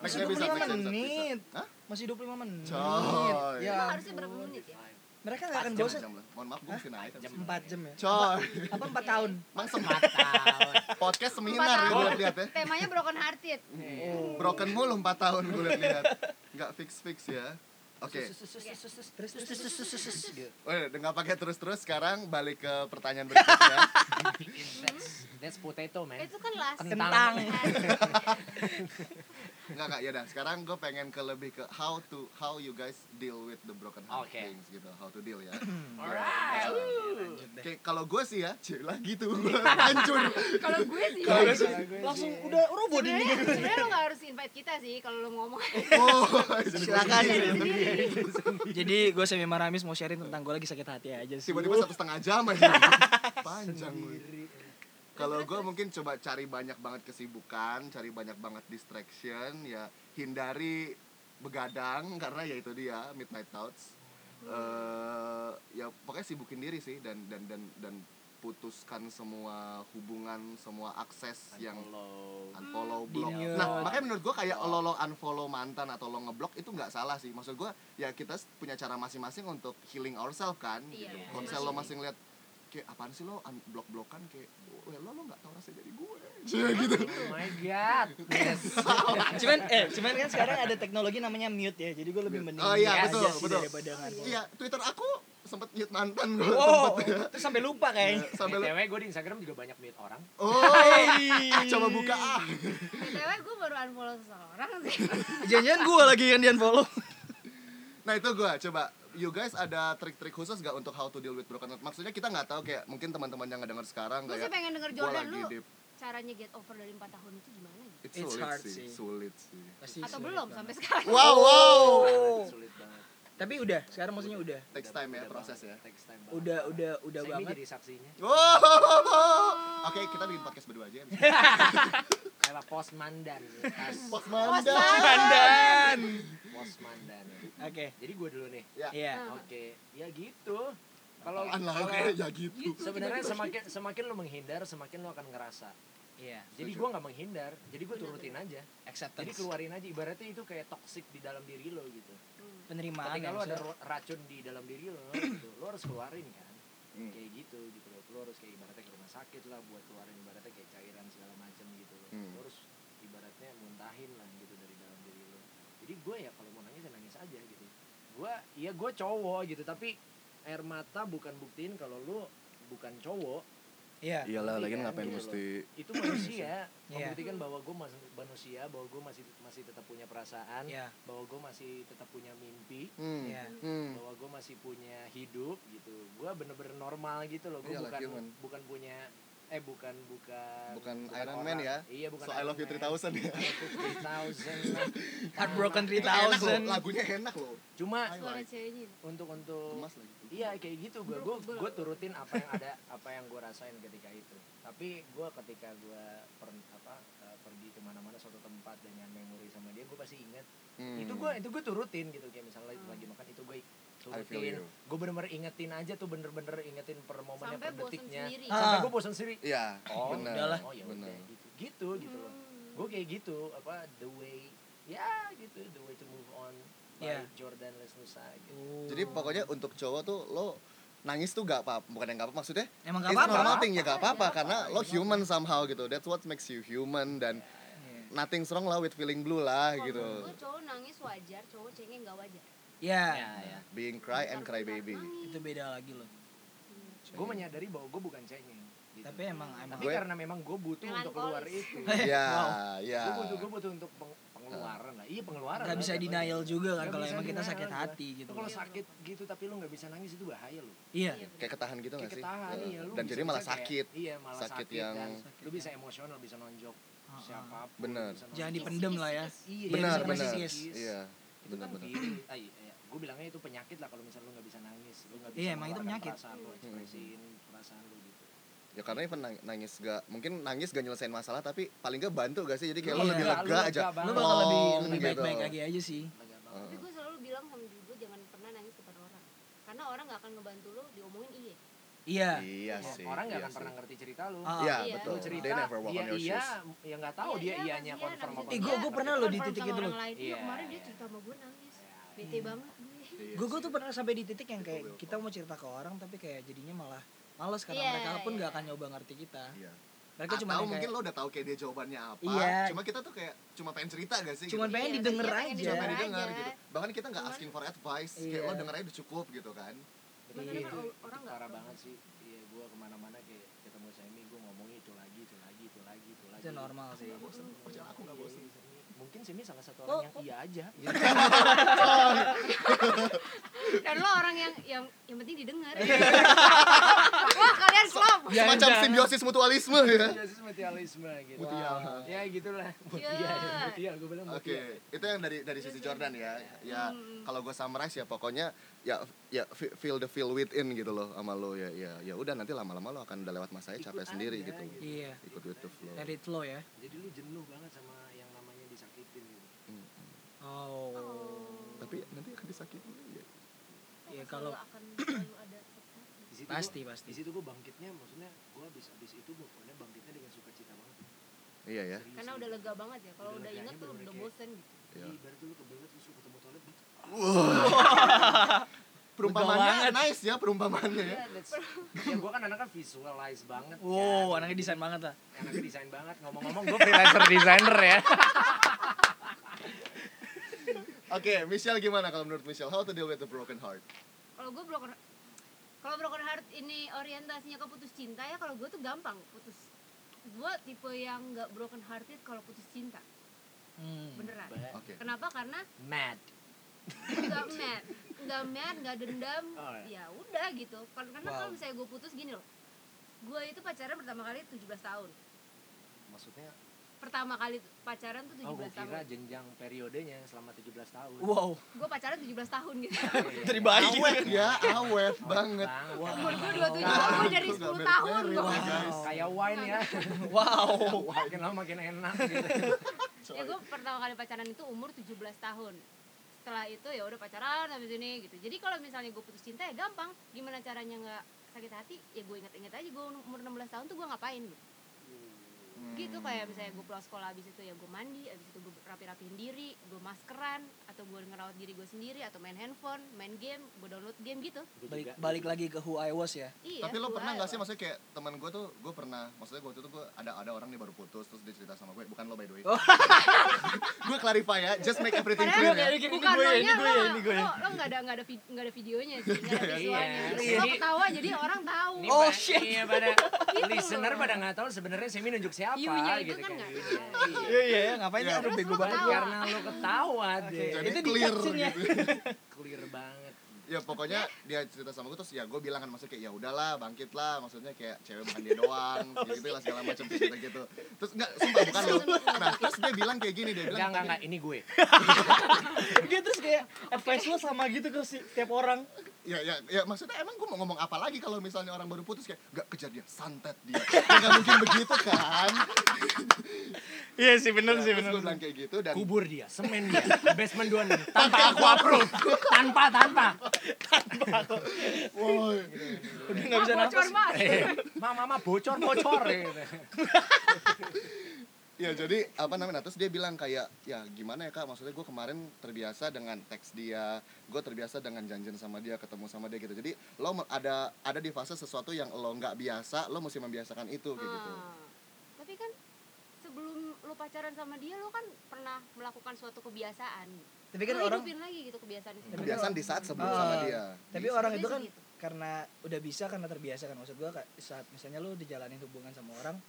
next Masih 25 episode next episode menit. Hah? Masih 25 menit. Coy. Ya. Emang harusnya berapa menit ya? Mereka nggak akan Jam, bosan. jam lah. mohon maaf gue mesti naik 4 jam ya. coy Apa 4 tahun? emang semat podcast seminar Empat gue tahun. lihat ya Temanya broken hearted. broken mulu 4 tahun gue lihat nggak fix fix ya oke Terus terus terus terus, terus, terus, gitu. Weh, udah nggak pakai terus terus sekarang balik ke pertanyaan berikutnya That's, that's potato, man. Itu kan last. Kentang. Kentang. Enggak kak, ya dah. Sekarang gue pengen ke lebih ke how to how you guys deal with the broken heart Oke. things gitu, how to deal ya. Iya. Alright. Oke, kalau gue sih ya, cie, lah gitu, Gua hancur. Kalau gue sih. Kalau gue sih, Langsung udah roboh di Sebenarnya sebenarnya lo gak harus invite kita sih kalau lo ngomong. oh, Silakan. Sendiri. Jadi gue sama Maramis mau sharing tentang gue lagi sakit hati aja sih. Tiba-tiba satu setengah jam aja. Panjang. gua. Kalau gue mungkin coba cari banyak banget kesibukan, cari banyak banget distraction, ya hindari begadang karena ya itu dia midnight thoughts. eh ya pokoknya sibukin diri sih dan dan dan dan putuskan semua hubungan, semua akses yang unfollow blok Hmm. Di-mute. nah makanya menurut gue kayak lo lo unfollow mantan atau lo ngeblok itu nggak salah sih maksud gue ya kita s- punya cara masing-masing untuk healing ourselves kan Iya. gitu kalau misalnya lo masih ngeliat kayak apaan sih lo blok blokan kayak "Weh, lo lo nggak tahu rasanya jadi gue Cie, gitu Oh my god. Yes. cuman eh cuman kan sekarang ada teknologi namanya mute ya. Jadi gue lebih Mute. mending Oh iya, mute betul, aja sih betul. daripada nggak. iya twitter aku sempet mute mantan gue Wow, sempet ya terus sampai lupa kayaknya. sampai lo BTW gue di Instagram juga banyak meet orang. oh coba buka ah BTW gue baru unfollow seseorang sih. Jangan-jangan gue lagi kan yang dian follow. Nah itu gue coba You guys ada trik-trik khusus gak untuk how to deal with broken heart? Maksudnya kita nggak tahu kayak mungkin teman-teman yang ngedenger sekarang Gue kayak sih pengen ya. denger gua Jordan lagi lu deep. caranya get over dari 4 tahun itu gimana gitu? It's It's sulit hard sih. sih. sulit sih. Iya, Atau belum sampai sekarang? Wow, wow. Oh. Sulit banget. Tapi udah, sekarang maksudnya udah. Takes time ya proses ya. Text time banget. Udah udah udah Saya ini banget. jadi saksinya. Wow. Oke, kita bikin podcast berdua aja. ya, abis ini. Kayak pos mandan. Pos Pos Manda. Manda. Pandan. Pos mandan. Oke. Jadi gue dulu nih. Iya. Ah. Oke, ya gitu. Kalau Apaan lah, kalau- kayak ya gitu. sebenarnya semakin semakin lu menghindar, semakin lu akan ngerasa. Iya. Jadi Setuju. gue nggak menghindar, jadi gue turutin aja. Jadi Acceptance. keluarin aja. Ibaratnya itu kayak toxic di dalam diri lo gitu. Penerimaan Ketika ya. lu ada maksudnya. ro- racun di dalam diri lo, gitu, lo harus keluarin kan. Hmm. Kayak gitu gitu loh. Lo harus kayak ibaratnya ke rumah sakit lah buat keluarin ibaratnya kayak cairan segala macam gitu loh. Hmm. Lo harus ibaratnya muntahin lah gitu dari dalam diri lo. Jadi gue ya kalau mau nangis ya nangis aja gitu. Gue ya gue cowok gitu tapi air mata bukan buktiin kalau lo bukan cowok Iya. Iyalah, lagian ngapain mesti itu manusia Iya. membuktikan bahwa gue masih manusia bahwa gue masih masih tetap punya perasaan Iya. bahwa gue masih tetap punya mimpi Hmm. Iya. Hmm. bahwa gue masih punya hidup gitu gue bener-bener normal gitu loh gue Iyalah, bukan Iya human. bukan punya eh bukan bukan Bukan Iron Man ya. iya bukan So I love you 3000 ya. 3000 lah. Heartbroken Enak loh, 3000. lagunya enak loh. cuma Suara ceweknya. untuk untuk Kemas lagi. Iya kayak gitu gue gue Buruk banget. turutin apa yang ada apa yang gue rasain ketika itu tapi gue ketika gue per, apa eh, pergi kemana-mana suatu tempat dengan memori sama dia gue pasti ingat Hmm. itu gue itu gue turutin gitu kayak misalnya Hmm. lagi makan itu gue I feel turutin you. gue bener-bener ingetin aja tuh bener-bener ingetin per momennya Sampai per bosen detiknya sendiri. Ah. sampai gue bosan sendiri Iya, oh bener. udahlah. oh ya bener. udah gitu gitu gitu loh Hmm. gue kayak gitu apa the way ya gitu the way to move on by Iya. Jordan Lesnusa gitu Jadi pokoknya untuk cowok tuh lo nangis tuh gak apa bukan yang gak apa maksudnya emang gak It's normal apa-apa. thing ya gak apa-apa karena lo human somehow gitu. That's what makes you human dan nothing's wrong lah with feeling blue lah Kalau gitu. menurut Gue cowok nangis wajar, cowok cengeng gak wajar. Iya. ya ya Being cry and cry baby. Itu beda lagi loh. gue menyadari bahwa gue bukan cengeng gitu. Tapi emang emang tapi Gue- karena memang gue butuh untuk keluar Melankolis. itu Ya, gue ya. butuh gue butuh untuk peng- pengeluaran lah iya pengeluaran nggak lah, bisa jatuhnya. denial juga kan Nggak kalau bisa emang kita denial sakit lah. hati Itu gitu. kalau sakit gitu tapi lu nggak bisa nangis itu bahaya lu Iya. Kayak ketahan gitu kayak gak sih? ketahan Eh, iya lu Dan bisa- jadi malah bisa kayak- sakit. iya malah Sakit sakit, yang- dan lu Sakit bisa yang- emosional bisa nonjok Ah, siapapun Bener. bisa Jangan nonjok. dipendem lah ya. Iya, Benar, bisa benar. narsis. Iya. itu kan Benar-benar. diri ay, gue bilangnya itu penyakit lah kalau misalnya lu nggak bisa nangis lu nggak bisa Iya, emang itu mengeluarkan penyakit. perasaan lu ekspresiin perasaan lu gitu ya karena even nang- nangis gak mungkin nangis gak nyelesain masalah tapi paling gak bantu gak sih jadi kayak lo Iya, lebih lu lega aja Lu bakal lebih plong lebih gitu. baik-baik lagi aja sih. Lega banget. Heeh. tapi gue selalu bilang sama diri gue jangan pernah nangis depan orang karena orang nggak akan ngebantu lo diomongin iya Iya. iya Ya, sih orang nggak iya akan sih. pernah ngerti cerita lu. Ah. iya Iya. betul Lu Tuh, cerita they never walk dia on your iya, shoes ya nggak tahu Iya, dia iya, ianya iya, confirm nangis apa. Eh, Iya, gue gue pernah lo di Confirm titik sama itu. orang lain iya Iya, kemarin dia iya. cerita sama gue nangis bete banget gue Iya Gue gue tuh pernah sampai di titik yang kayak kita mau cerita ke orang tapi kayak jadinya malah males karena Iya, mereka pun iya. nggak akan nyoba ngerti kita. Iya. Mereka Atau cuma yang mungkin kayak lo udah tahu kayak dia jawabannya apa. Iya. Cuma kita tuh kayak cuma pengen cerita gak sih? Cuman gitu? pengen Iya, didengar iya, pengen aja. Cuma pengen Iya. didengar Iya. gitu. Bahkan kita nggak Cuman- asking for advice. Iya. Kayak lo denger aja udah cukup gitu kan. Makanya Iya, kan itu, orang- orang itu nggak parah tahu. banget sih. Iya, gue kemana-mana kayak ketemu Semi, gue ngomongin itu lagi, itu lagi, itu lagi, itu lagi. itu normal sih. Oh, Gak bosen. Percaya aku Iya, gak bosen. Mungkin Semi salah satu orang yang iya aja. Gitu. dan lo orang yang yang yang penting didengar wah kalian klop Ya, Iya, Semacam simbiosis mutualisme ya. Yesus materialisme gitu. Mutiara. Wow. Ya gitulah. Iya. Mutiara, mutiara. Gue bilang Oke, mutiara. itu yang dari dari sisi Jordan ya. Ya, kalau gue summarize ya pokoknya ya ya fe- feel the feel within gitu loh sama lo ya ya ya udah nanti lama-lama lo akan udah lewat masanya capek sendiri gitu. Iya. Ikut with the flow. Let it flow ya. Jadi lu jenuh banget sama yang namanya disakitin gitu. Hmm. Oh. Tapi nanti akan disakitin. ya. Iya, kalau- akan selalu ada Di situ gua- Pasti di pasti. situ gue bangkitnya maksudnya gue habis habis itu gue bangkitnya dengan sukacita banget Iya ya. Serius, karena gitu. udah lega banget ya kalau Udah udah leganya inget tuh bener-bener udah kayak- bosen gitu Iya. Iya, ibarat lu kebelet terus lu ketemu toilet gitu. Perumpamaannya nice ya perumpamaannya ya. Iya, that's. ya gue kan anak kan visualize banget. Wow, kan. anaknya desain banget ah. lah. Anaknya desain banget. Ngomong-ngomong gue freelancer designer ya. Oke, Michelle gimana kalau menurut Michelle? How to deal with a broken heart? kalau gue broken kalau broken heart ini orientasinya ke putus cinta ya kalau gue tuh gampang putus gue tipe yang nggak broken hearted kalau putus cinta Hmm. beneran Oke. kenapa karena mad. nggak mad nggak mad nggak dendam Oh, ya udah gitu Kar- karena Wow. kalau misalnya gue putus gini loh gue itu pacaran pertama kali 17 tahun Maksudnya, pertama kali pacaran tuh 17 oh gue tahun kira jenjang periodenya selama 17 tahun. Iya. Wow, gue pacaran 17 tahun gitu dari bayi. Awet ya, awet banget. Wow. umur gue 27 tahun gue dari 10 tahun Wow. gue Guys. Kayak wine ya. Wow. Makin lama makin enak gitu. ya gue pertama kali pacaran itu umur 17 tahun setelah itu ya udah pacaran habis ini gitu jadi kalau misalnya gue putus cinta ya gampang gimana caranya nggak sakit hati ya gue inget-inget aja gue umur 16 tahun tuh gue ngapain gitu. Hmm. gitu kayak misalnya gue pulang sekolah habis itu ya gue mandi habis itu gue rapi-rapiin diri gue maskeran atau gue ngerawat diri gue sendiri atau main handphone main game gue download game gitu Balik, balik lagi ke who I was ya. iya Tapi lo gue pernah ayo. gak sih maksudnya kayak teman gue tuh gue pernah maksudnya gue tuh gue ada ada orang nih baru putus terus dia cerita sama gue bukan lo by the way. Oh. gue clarify ya, just make everything clear Padahal kayak ya. bukan lo nya lo lo lo nggak ada nggak ada vid- nggak ada videonya sih nggak ada Iya, visualnya iya. lo ketawa jadi orang tahu Ini Oh, ba- shit. Iya, pada Gitu listener loh. pada nggak tahu sebenarnya Semi nunjuk siapa You-nya itu gitu kan nggak Iya. Iya iya, ngapain Iya. ya? Aduh Terus bego lu banget. ketawa. Karena lo ketawa deh. Jadi Itu di clear caption ya. gitu. Clear banget. ya pokoknya dia cerita sama gue terus ya gue bilang kan maksudnya kayak ya udahlah bangkit lah maksudnya kayak cewek bukan dia doang Oh, gitu lah segala macam cerita gitu terus enggak sumpah bukan lo nah terus dia bilang kayak gini dia Enggak, bilang enggak, enggak, ini gue. Dia terus kayak advice lo sama gitu ke si- tiap orang. ya ya ya maksudnya emang gue mau ngomong apa lagi kalau misalnya orang baru putus kayak nggak kejar dia santet dia ya, nggak mungkin begitu kan Iya sih bener terus gue bilang kayak gitu dan Kubur dia, semen dia, basement 26 tanpa aku approve. Tanpa, tanpa. woi Udah nggak bisa Ah, bocor nafas. mas Mama, mama bocor, bocor. gitu. ya jadi apa namanya nah, terus dia bilang kayak ya gimana ya kak maksudnya gue kemarin terbiasa dengan teks dia gue terbiasa dengan janjian sama dia ketemu sama dia gitu jadi lo me- ada ada di fase sesuatu yang lo nggak biasa lo mesti membiasakan itu kayak gitu Hmm. Ah. tapi kan sebelum lo pacaran sama dia lo kan pernah melakukan suatu kebiasaan Tapi kan Lo orang hidupin lagi gitu kebiasaan itu kebiasaan di saat sebelum Hmm. sama Ah, dia tapi Bisa. orang itu kan Gitu. karena udah bisa karena terbiasa kan maksud gua kayak saat misalnya lu dijalanin hubungan sama orang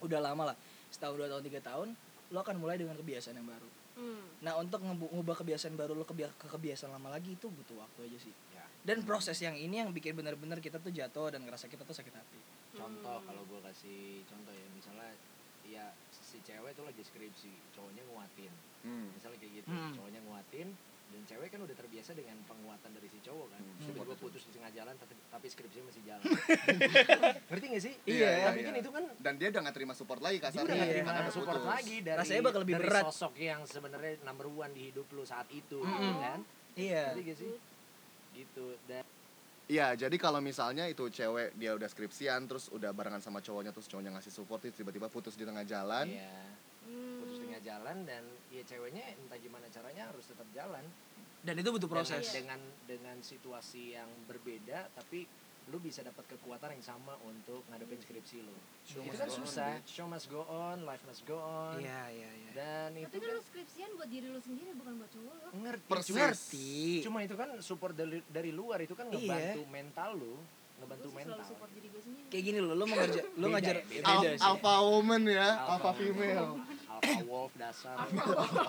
udah lama lah setahun dua tahun tiga tahun lo akan mulai dengan kebiasaan yang baru. Hmm. Nah untuk ngebu- ngubah kebiasaan baru lo kebia- ke kebiasaan lama lagi itu butuh waktu aja sih. Ya. Dan proses yang ini yang bikin bener-bener kita tuh jatuh dan ngerasa kita tuh sakit hati. Contoh kalau gue kasih contoh ya, misalnya ya si cewek tuh lagi skripsi, cowoknya nguatin. Hmm. Misalnya kayak gitu, Hmm. cowoknya nguatin, dan cewek kan udah terbiasa dengan penguatan dari si cowok kan Hmm, tiba-tiba support putus di tengah jalan tapi, tapi skripsinya masih jalan ngerti gak sih Iya, iya, tapi kan iya. itu kan Dan dia udah gak terima support lagi dia udah kasarnya. gak Iya. terima karena karena support putus. lagi dari Rasanya bakal lebih dari berat. sosok yang sebenarnya number one di hidup lu saat itu Mm-mm. gitu kan Iya. ngerti gak sih gitu dan Iya, jadi kalau misalnya itu cewek dia udah skripsian terus udah barengan sama cowoknya terus cowoknya ngasih support terus tiba-tiba putus di tengah Kan? jalan. Iya. Hmm. putus tengah jalan dan ya ceweknya entah gimana caranya harus tetap jalan Dan itu butuh Dengan- proses. dengan dengan situasi yang berbeda tapi lu bisa dapat kekuatan yang sama untuk ngadepin skripsi lu Show must itu kan go on, susah show must go on life must go on Iya, iya, iya. dan Tapi itu kan kan lu skripsian buat diri lu sendiri bukan buat cowok lo. ngerti Persis. cuma, Ngerti. cuma itu kan support dari, dari luar itu kan Iya. ngebantu mental lu ngebantu Gue sih mental selalu support diri gue sendiri. Kayak gini loh, lo mau ngerja, lo Beda ngajar ya, beda. Al- beda sih. alpha woman ya, alpha, Alpha female. alpha wolf dasar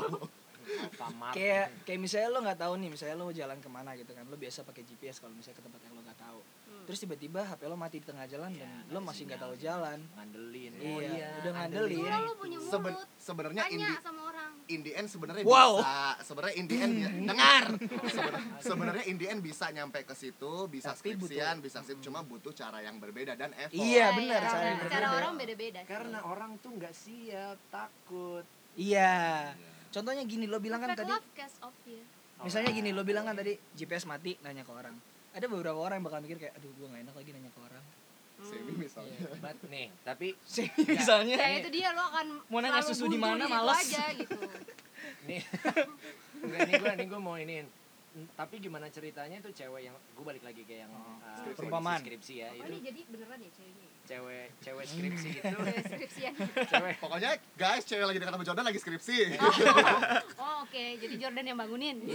alpha mark kayak kayak misalnya lo nggak tahu nih misalnya lo jalan kemana gitu kan lo biasa pakai GPS kalau misalnya ke tempat yang lo nggak tahu Hmm. terus tiba-tiba HP lo mati di tengah jalan dan Iya, lo ada masih nggak sinyal. tahu jalan ngandelin Iya, udah andelin. ngandelin. Orang lu punya Seben- mulut. sebenarnya Tanya indi sama orang. in the end sebenarnya Wow. Hmm. bisa sebenarnya in the end bi- dengar Sebenarnya- sebenarnya in the end bisa nyampe ke situ bisa Tapi butuh- skripsian bisa sip cuma butuh cara yang berbeda dan effort Iya, Ya, benar, ya, cara Cara, cara berbeda. orang beda-beda. sih. karena orang tuh nggak siap takut iya contohnya gini lo bilang kan Fake tadi Iya, love iya. case of fear. misalnya gini lo bilang kan tadi GPS mati nanya ke orang ada beberapa orang yang bakal mikir kayak aduh gue nggak enak lagi nanya ke orang semi misalnya But, nih tapi Sih, misalnya Ya itu dia lo akan iya. Mau nanya selalu susu di buntu mana, situ males. aja gitu. nih Nggak, ini gue ini gue mau iniin N- tapi gimana ceritanya itu cewek yang gue balik lagi ke yang Oh, uh, skripsi. Perumpamaan. Hmm. skripsi ya Oh itu ini jadi beneran ya ceweknya. cewek cewek skripsi itu Cewek Skripsian. cewek pokoknya guys cewek lagi dekat sama Jordan lagi skripsi Iya. Oh oke, jadi Jordan yang bangunin.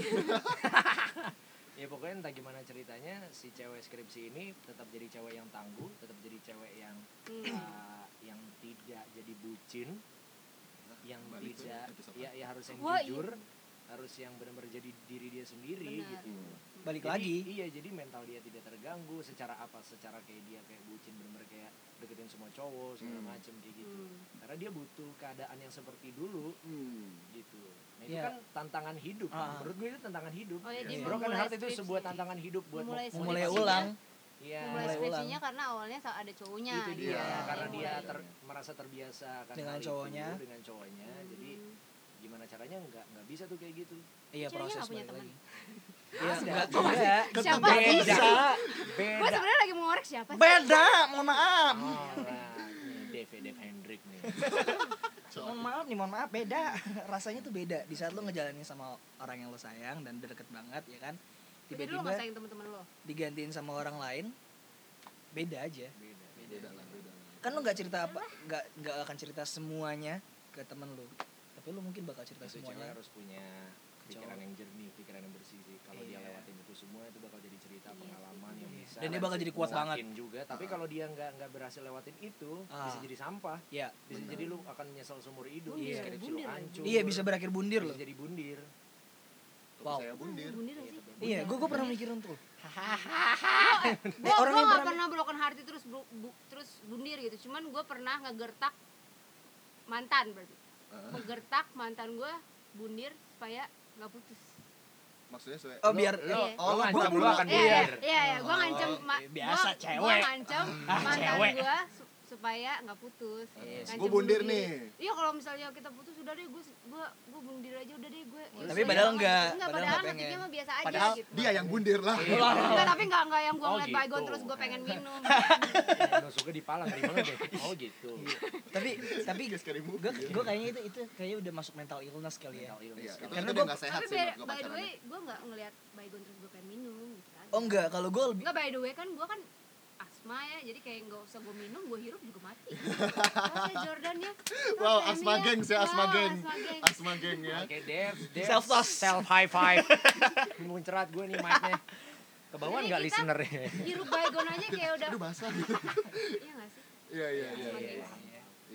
ya pokoknya entah gimana ceritanya si cewek skripsi ini tetap jadi cewek yang tangguh tetap jadi cewek yang Hmm. uh, yang tidak jadi bucin yang Balik tuh, tidak episode ya ya harus yang Wah, iya. jujur harus yang benar-benar jadi diri dia sendiri Benar. gitu balik Jadi, lagi iya jadi mental dia tidak terganggu secara apa secara kayak dia kayak bucin bener-bener kayak deketin semua cowok segala Hmm. macem kayak gitu Hmm. karena dia butuh keadaan yang seperti dulu Hmm. gitu nah itu Iya. kan tantangan hidup kan. Ah. menurut gue itu tantangan hidup Oh, ya, dia broken memulai heart itu skripsi. sebuah tantangan hidup buat Memulai mau- mau skripsi. mulai Motivasinya. ulang iya Mulai Mulai ulang. skripsinya karena awalnya sa- ada cowoknya. gitu. itu dia Iya. karena Mulai. dia Iya. ter- merasa terbiasa akan Dengan hal itu, cowoknya. dengan cowoknya Hmm. jadi gimana caranya nggak nggak bisa tuh kayak gitu iya Ceweknya proses nggak punya balik teman. lagi iya Ada. nggak ada Siapa sih? beda Gue beda sebenarnya lagi mengorek siapa sih? beda mohon maaf Alright, Oh, nih Dave, ya, Dave Hendrik nih. mohon maaf nih mohon maaf beda rasanya tuh beda di saat lo ngejalanin sama orang yang lo sayang dan udah deket banget ya kan Jadi lu nggak tiba-tiba sayang temen-temen lo. digantiin sama orang lain beda aja Beda, gitu. beda lah beda lah. kan lo nggak cerita apa nggak nggak akan cerita semuanya ke temen lo tapi lo mungkin bakal cerita Itu cewek semuanya harus punya pikiran yang jernih, pikiran yang bersih sih. Kalau dia Iya. lewatin itu semua itu bakal jadi cerita Iya pengalaman sih. yang Iya. bisa. Dan dia bakal jadi kuat nguatin banget. juga. Ah. Tapi kalau dia nggak nggak berhasil lewatin itu, bisa Ah. jadi sampah. ya Bisa jadi lu akan menyesal seumur hidup. Iya. Bundir, Skripsi lu bundir lagi. hancur. iya bisa berakhir bundir lo Bisa jadi bundir. Tuh, Wow. saya bundir Bundir gak Iya, sih? tetap bundir. iya gue gue pernah mikir untuk Gue orang yang gak pernah- pernah broken hearted terus bu- bu- terus bundir gitu. Cuman gue pernah ngegertak mantan berarti. Heeh. Ngegertak mantan gue bundir supaya nggak putus. maksudnya saya oh biar Lo, Iya. Oh, lo ngancam bukan, lu bukan. akan Iya, bundir. iya, iya, iya. Gue Oh, ngancam ma- biasa gua- cewek. Gua ngancam Ah, mantan cewek. gue supaya nggak putus. Yes. Ngancam Gua bundir nih. Iya kalau misalnya kita putus udah deh gue gue gue bundir aja udah deh gue. Tapi padahal nggak, Enggak padahal padahal nggak pengen. hatinya mah biasa aja padahal gitu. dia yang bundir lah Iya. Enggak, tapi enggak enggak yang gue Oh, ngeliat baygon gitu. terus gue pengen minum. Iya, Nusuknya di pala dari mana deh? Oh gitu. Iya. tapi tapi Guys, kayak movie, gue ya. gue kayaknya itu itu kayaknya udah masuk mental illness kali ya Mental illness Iya, itu kalau- Karena itu gua- udah nggak sehat tapi sih by, menurut gue by the pacarannya. way gue nggak ngeliat baygon terus gue pengen minum gitu aja. oh enggak kalau gue lebih Enggak by the way kan gue kan asma ya jadi kayak nggak usah gue minum gue hirup juga mati. Masa Jordan ya. Masa Wow, Emil? asma geng sih, asma Wow, geng. Asma geng. asma geng ya Oke, Dev, Dev. Self toss. Self high five. Muncrat gue nih mic-nya. Kebawaan Jadi nggak ya? kita- listenernya? Hirup baygon aja kayak udah. aduh basah Iya nggak sih? iya iya iya Asma iya. geng.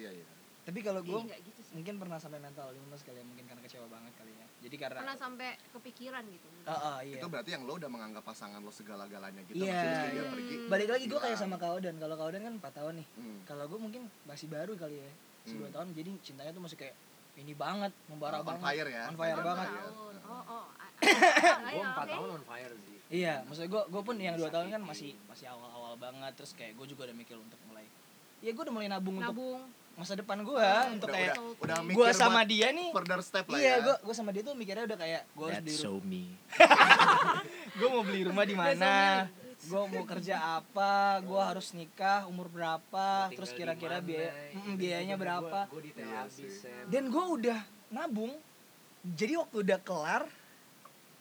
iya iya tapi kalau Ih, gue nggak gitu sih. mungkin pernah sampai mental illness kali ya mungkin karena kecewa banget kali ya jadi karena Pernah sampai kepikiran gitu. Ah, ah, iya. itu berarti yang lo udah menganggap pasangan lo segala-galanya gitu Iya, maksudnya meski dia iya. pergi balik lagi gue kayak Hilang. sama kaudan kalau kaudan kan 4 tahun nih hmm. kalau gue mungkin masih baru kali ya masih dua Hmm. tahun jadi cintanya tuh masih kayak ini banget membara on banget fire ya On fire Iya, banget. iya. Tahun. Oh, oh, a- Ayo, Gue empat oke. tahun on fire sih. Iya, maksudnya gue gue pun yang dua tahun kan Sakit. masih masih awal-awal banget terus kayak gue juga udah mikir untuk mulai. Ya gue udah mulai nabung, untuk Nabung. masa depan gue untuk udah, kayak udah, udah mikir gue sama buat dia nih. further step lah Iya, ya. gue gue sama dia tuh mikirnya udah kayak gue harus beli That's so me. gue mau beli rumah di mana, gue mau kerja apa, gue harus nikah umur berapa, terus kira-kira biaya gitu gitu. kan, mm, biayanya berapa. Gue detail Iya habis. sih. Sam. Dan gue udah nabung. Jadi waktu udah kelar,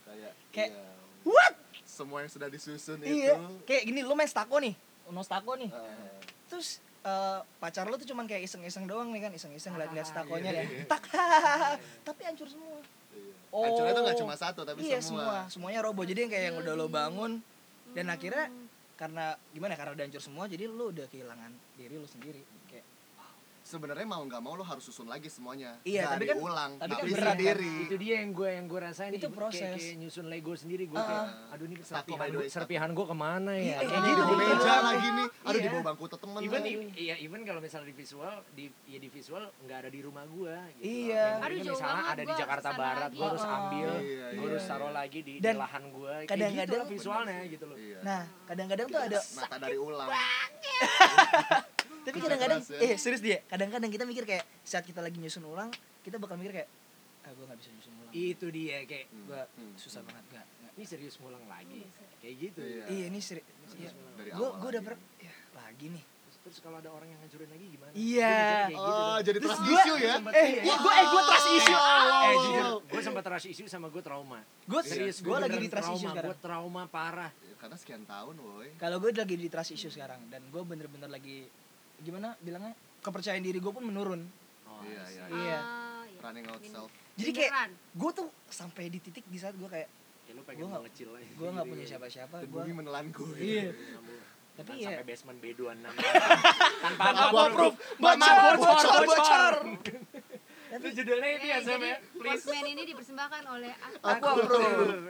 kayak, Kayak- iya. what? semua yang sudah disusun Iya. itu Kayak gini lu main stako nih, no stako nih. eh, terus eh, pacar lo tuh cuman kayak iseng-iseng doang nih kan iseng-iseng ngeliat-ngeliat stakonya iya, ya iya. tak tapi hancur semua iya. Oh. Hancurnya tuh gak cuma satu tapi iya semua. semua. semuanya roboh jadi yang kayak yang udah lo Hmm. bangun dan akhirnya Hmm. karena gimana ya, karena udah hancur semua jadi lo udah kehilangan diri lo sendiri kayak Sebenarnya mau nggak mau lo harus susun lagi semuanya. Iya, Nggak tapi kan- diulang, tapi tapi, kan berat kan? sendiri. itu dia yang gue yang gue rasain Itu Ibu- proses. kayak, kayak nyusun Lego sendiri gue Ah. kayak aduh ini Satu by serpihan dua gue satu. serpihan gue kemana ya Iya, kayak Ini di gitu bawah iya. meja lagi nih. Aduh Iya. di bawah bangku temen. even lagi. iya even kalau misalnya di visual di ya di visual nggak ada di rumah gue gitu. Iya. Yang Aduh, ini jauh misalnya banget, ada di gua Jakarta kesana Barat lagi. gue harus Ah. ambil Iya, gue iya. harus taruh lagi di, di Dan lahan gue kayak gitu kadang-kadang- lah visualnya gitu loh Iya. nah kadang-kadang tuh ada Nata dari ulang. tapi kadang-kadang keras ya. eh serius dia kadang-kadang kita mikir kayak saat kita lagi nyusun ulang kita bakal mikir kayak ah gue nggak bisa nyusun ulang itu dia kayak Hmm, gue hmm, susah hmm. banget gak, ini serius ngulang lagi kayak gitu Iya. iya ini serius Serius ngulang. Dari gue awal gue udah lagi. ber ya, lagi nih Terus- terus kalau ada orang yang ngancurin lagi gimana Iya. gitu Oh, jadi Terus trust gua- issue ya? eh Wah. gue eh gue trust iya. issue eh wow, jujur wow. gue sempat rush issue sama gue trauma Gue Iya. serius, Gua gue lagi beneran di trust issue trauma, sekarang. Gue trauma parah. Ya, Karena sekian tahun woi. Kalau gue lagi di trust issue sekarang dan gue bener-bener lagi gimana bilangnya kepercayaan diri gue pun menurun. Oh, Iya, iya. Iya. Ah, iya. Running out self. Jadi kayak Beneran. gue tuh sampai di titik di saat gue kayak Ya lu pengen Gua nggak- ngecil aja. gue nggak punya siapa-siapa. The bumi Gue menelan gue. iya. Tapi Tapi ya. ya. Sampai basement B26. Tanpa Tanpa apa approve. Bocor, bocor, bocor, bocor. Itu Tapi judulnya itu ya, Eh, Sam ya. jadi Walkman ini dipersembahkan oleh Aku Aku approve.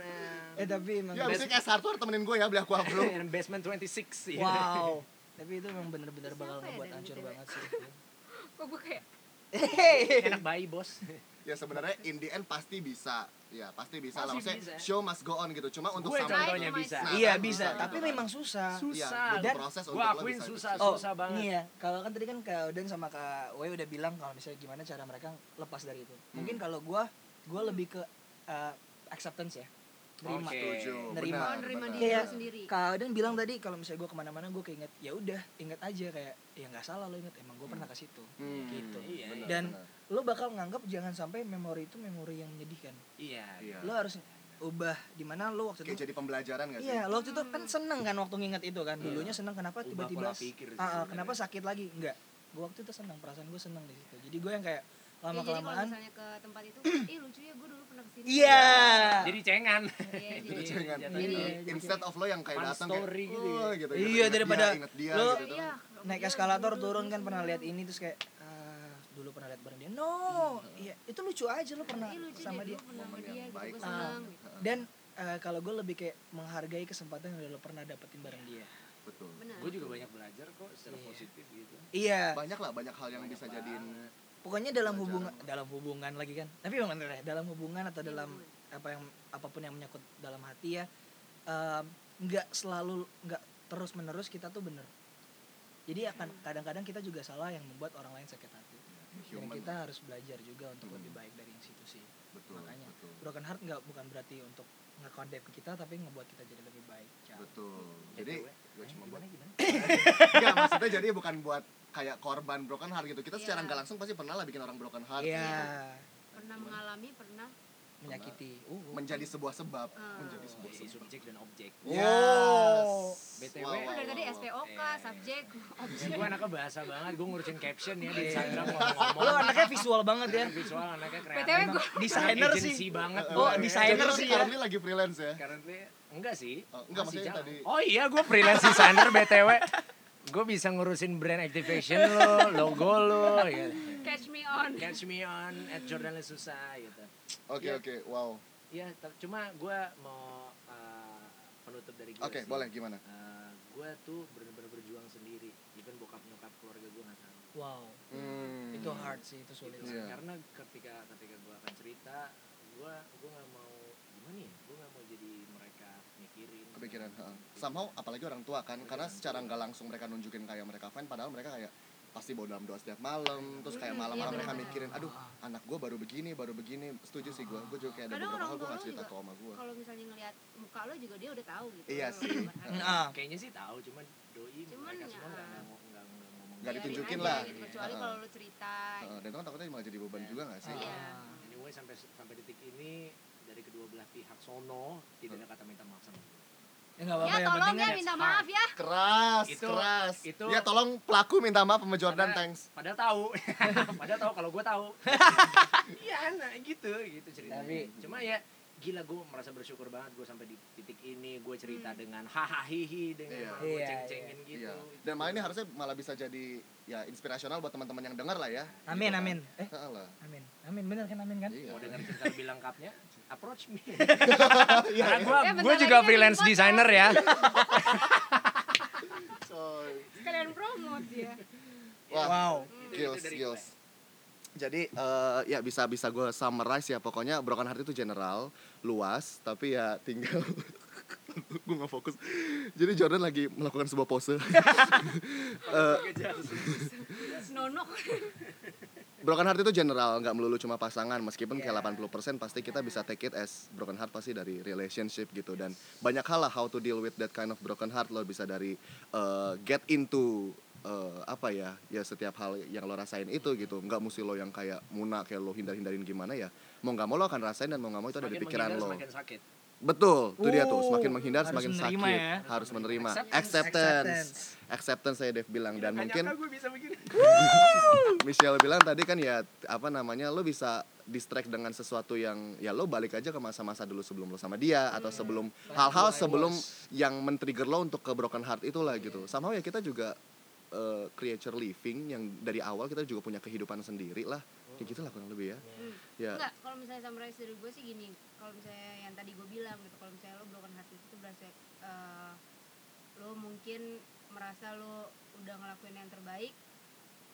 eh tapi emang Ya, abis itu kayak Sartor temenin gue ya beli aku approve. And basement 26 ya. wow. Iya. Tapi itu emang bener-bener Siapa bakal ya ngebuat dari hancur BTW? banget sih. Kok gue kayak Enak bayi, Bos. ya sebenarnya in the end pasti bisa. Ya, pasti bisa lah. Pasti Maksudnya bisa. show must go on gitu. Cuma untuk Gue sampai contohnya Nah, bisa. Nah, Iya kan bisa, bisa, tapi kan? memang susah. Iya, Susah. butuh Dan- proses untuk Gue lo akuin bisa susah, ikut. Oh, susah Ini banget. ya, kalau kan tadi kan Kak Oden sama Kak Wei udah bilang kalau misalnya gimana cara mereka lepas dari itu. Mungkin kalau gua gua lebih ke uh, acceptance ya. Terima. Oke. Setuju. Nerima. benar, mau nerima benar. Iya. diri Kayak- lo sendiri. Iya, Kak Oden bilang tadi kalau misalnya gua kemana mana gua keinget ya udah, ingat aja kayak ya nggak salah lo inget emang gua pernah ke situ. Hmm, Gitu. Iya, benar, Dan- benar. Lo bakal nganggap jangan sampai memori itu memori yang menyedihkan. Iya. Iya. Lo harus ubah di mana lo waktu kayak itu jadi pembelajaran gak sih? Iya, lo waktu itu kan seneng kan waktu nginget itu kan. Iya. Dulunya seneng kenapa Ubah tiba-tiba pola Ah, pikir sih ah, sebenarnya. kenapa sakit lagi? Enggak. Gue waktu itu seneng, perasaan gue seneng di situ. Jadi gue yang kayak Ya, lama jadi kalau kelamaan misalnya ke tempat itu, ih lucu ya gue dulu pernah kesini. Iya. Jadi cengan. Iya, Jadi jadi- jangan Jadi- Iya, jadi- instead of lo yang Fun kayak datang kayak story gitu ya. "Oh," gitu, Iya, Ingat dia, daripada ingat dia, lo- gitu. Iya, naik iya, eskalator dulu, turun dulu kan pernah seneng. lihat ini terus kayak ah, dulu pernah lihat bareng dia. No, Hmm. iya itu lucu aja lo pernah Ih Iya, lucu sama deh, dia. Ah. dulu pernah sama Momen dia yang gitu, baik gue lah. seneng. Dan eh, kalau gue lebih kayak menghargai kesempatan yang udah lo pernah dapetin bareng Iya. dia. Betul. Benar. Gue juga banyak belajar kok secara Iya. positif gitu. Iya, Banyak lah banyak hal yang Banyak bisa jadiin banget. pokoknya dalam Belajar hubungan sama- dalam hubungan lagi kan. Tapi emang bener ya, dalam hubungan atau Iya, dalam betul. apa yang apapun yang menyangkut dalam hati ya em, nggak selalu nggak terus menerus kita tuh bener jadi akan Hmm. kadang-kadang kita juga salah yang membuat orang lain sakit hati dan human. Iya, kita harus belajar juga untuk Hmm. lebih baik dari yang situ sih Betul, makanya. betul. broken heart nggak bukan berarti untuk nge-condemn ke kita tapi ngebuat kita jadi lebih baik Ciao. Betul. Jadi Eh, gak cuma buat gimana gimana? Enggak, maksudnya jadi bukan buat kayak korban broken heart gitu. Kita secara Iya. nggak langsung pasti pernah lah bikin orang broken heart. iya Pernah mengalami, pernah menyakiti uh, uh. Menjadi sebuah sebab. Hmm. Ah. Menjadi sebuah Posisi sebab. iya, subjek dan objek. Iya. Yes. BTW, Wow, Lu wow, dari tadi wow, wow. SPOK, Iya. Eh. subjek, objek gue anaknya bahasa banget, gue ngurusin caption ya di Iya. Instagram lo ngomong-ngomong. anaknya visual banget ya Visual anaknya kreatif. PTW gue desainer Agency sih banget. Oh, gue. desainer Jadi lo sih ya. currently lagi freelance ya. Iya. Currently enggak sih. Oh, enggak, Masih maksudnya jarang. tadi- Oh iya, gue freelance designer BTW. Gue bisa ngurusin brand activation lo, logo lo, ya. catch me on. Catch me on at Jordan Susah gitu. Oke, Iya. oke. Wow. Ya, t- cuma gue mau eh, penutup dari gue Oke, sih. boleh gimana? gue tuh bener-bener berjuang sendiri. Even bokap nyokap keluarga gue nggak tahu. wow Hmm. itu hard sih itu sulit Gitu. Iya. Karena ketika ketika gue akan cerita, gue gue nggak mau gimana gimana ya gue nggak mau jadi mereka mikirin Gitu. kepikiran heeh. somehow apalagi orang tua kan karena secara nggak langsung mereka nunjukin kayak mereka fine padahal mereka kayak pasti bawa dalam doa setiap malam terus kayak Mm, malam-malam iya, mereka benar-benar. mikirin aduh anak gue baru begini baru begini setuju sih gue gue juga kayak ada Kadang beberapa orang hal gue tua nggak lu cerita juga- ke oma gue kalau misalnya ngelihat muka lo juga dia udah tahu gitu Iya lo sih. gambar Heeh. hati. Nah, kayaknya sih tahu cuman doi Cuman mereka ya. semua nggak nggak ngomong nggak nggak ngomong Nggak Biarin ditunjukin aja lah. gitu. kecuali Ah. Heeh. kalau lo cerita Heeh, dan kan takutnya malah jadi beban juga nggak sih Iya. anyway sampai sampai detik ini dari kedua belah pihak sono tidak ada kata minta maaf sama gue ya nggak ya apa-apa yang tolong penting ya kan minta maaf ya keras Itu- keras itu- ya tolong pelaku minta maaf sama Jordan Karena- thanks padahal tahu padahal tahu kalau gue tahu iya anak gitu gitu ceritanya Tapi- cuma ya gila gue merasa bersyukur banget gue sampai di titik ini gue cerita Hmm. dengan hahaha hihi Iya. dengan gue Iya, ceng-cengin gitu iya dan malah ini harusnya malah bisa jadi ya inspirasional buat teman-teman yang dengar lah ya amin Gitu kan. amin eh Heeh lah amin amin bener kan amin kan Iya. mau dengar cerita lebih lengkapnya approach me Iya, Karena iya. gue Ya, bentar gue lagi juga ada di freelance podcast. designer ya. Coy. sekalian promote dia Wah, wow Itu- itu skills, dari skills. gue. Jadi eh, ya bisa bisa gue summarize ya pokoknya broken heart itu general, luas, tapi ya tinggal gue nggak fokus. Jadi Jordan lagi melakukan sebuah pose. Eh, Oke, jas. nonok broken heart itu general, nggak melulu cuma pasangan. Meskipun Yeah. kayak 80% pasti kita bisa take it as broken heart pasti dari relationship gitu dan banyak hal lah how to deal with that kind of broken heart lo bisa dari eh, get into eh, apa ya ya setiap hal yang lo rasain itu gitu nggak mesti lo yang kayak muna kayak lo hindar hindarin gimana ya mau nggak mau lo akan rasain dan mau nggak mau itu ada di Semakin pikiran menghindar, lo semakin sakit betul itu dia tuh semakin Oh, menghindar harus semakin menerima sakit ya. harus menerima Acceptance. Iya, acceptance acceptance saya Dev bilang dan Makanya mungkin apa gue bisa begini Michelle bilang tadi kan ya apa namanya lo bisa distract dengan sesuatu yang ya lo balik aja ke masa-masa dulu sebelum lo sama dia atau Iya. sebelum hal-hal sebelum yang men-trigger lo untuk ke broken heart itulah gitu. Somehow ya kita juga eh, creature living yang dari awal kita juga punya kehidupan sendiri lah. Oh. Kayak gitu lah kurang lebih ya. Ah. Hmm. Ya. Enggak, kalau misalnya summarize dari gue sih gini Kalau misalnya yang tadi gue bilang gitu Kalau misalnya lo broken heart itu tuh berasa eh, Lo mungkin merasa lo udah ngelakuin yang terbaik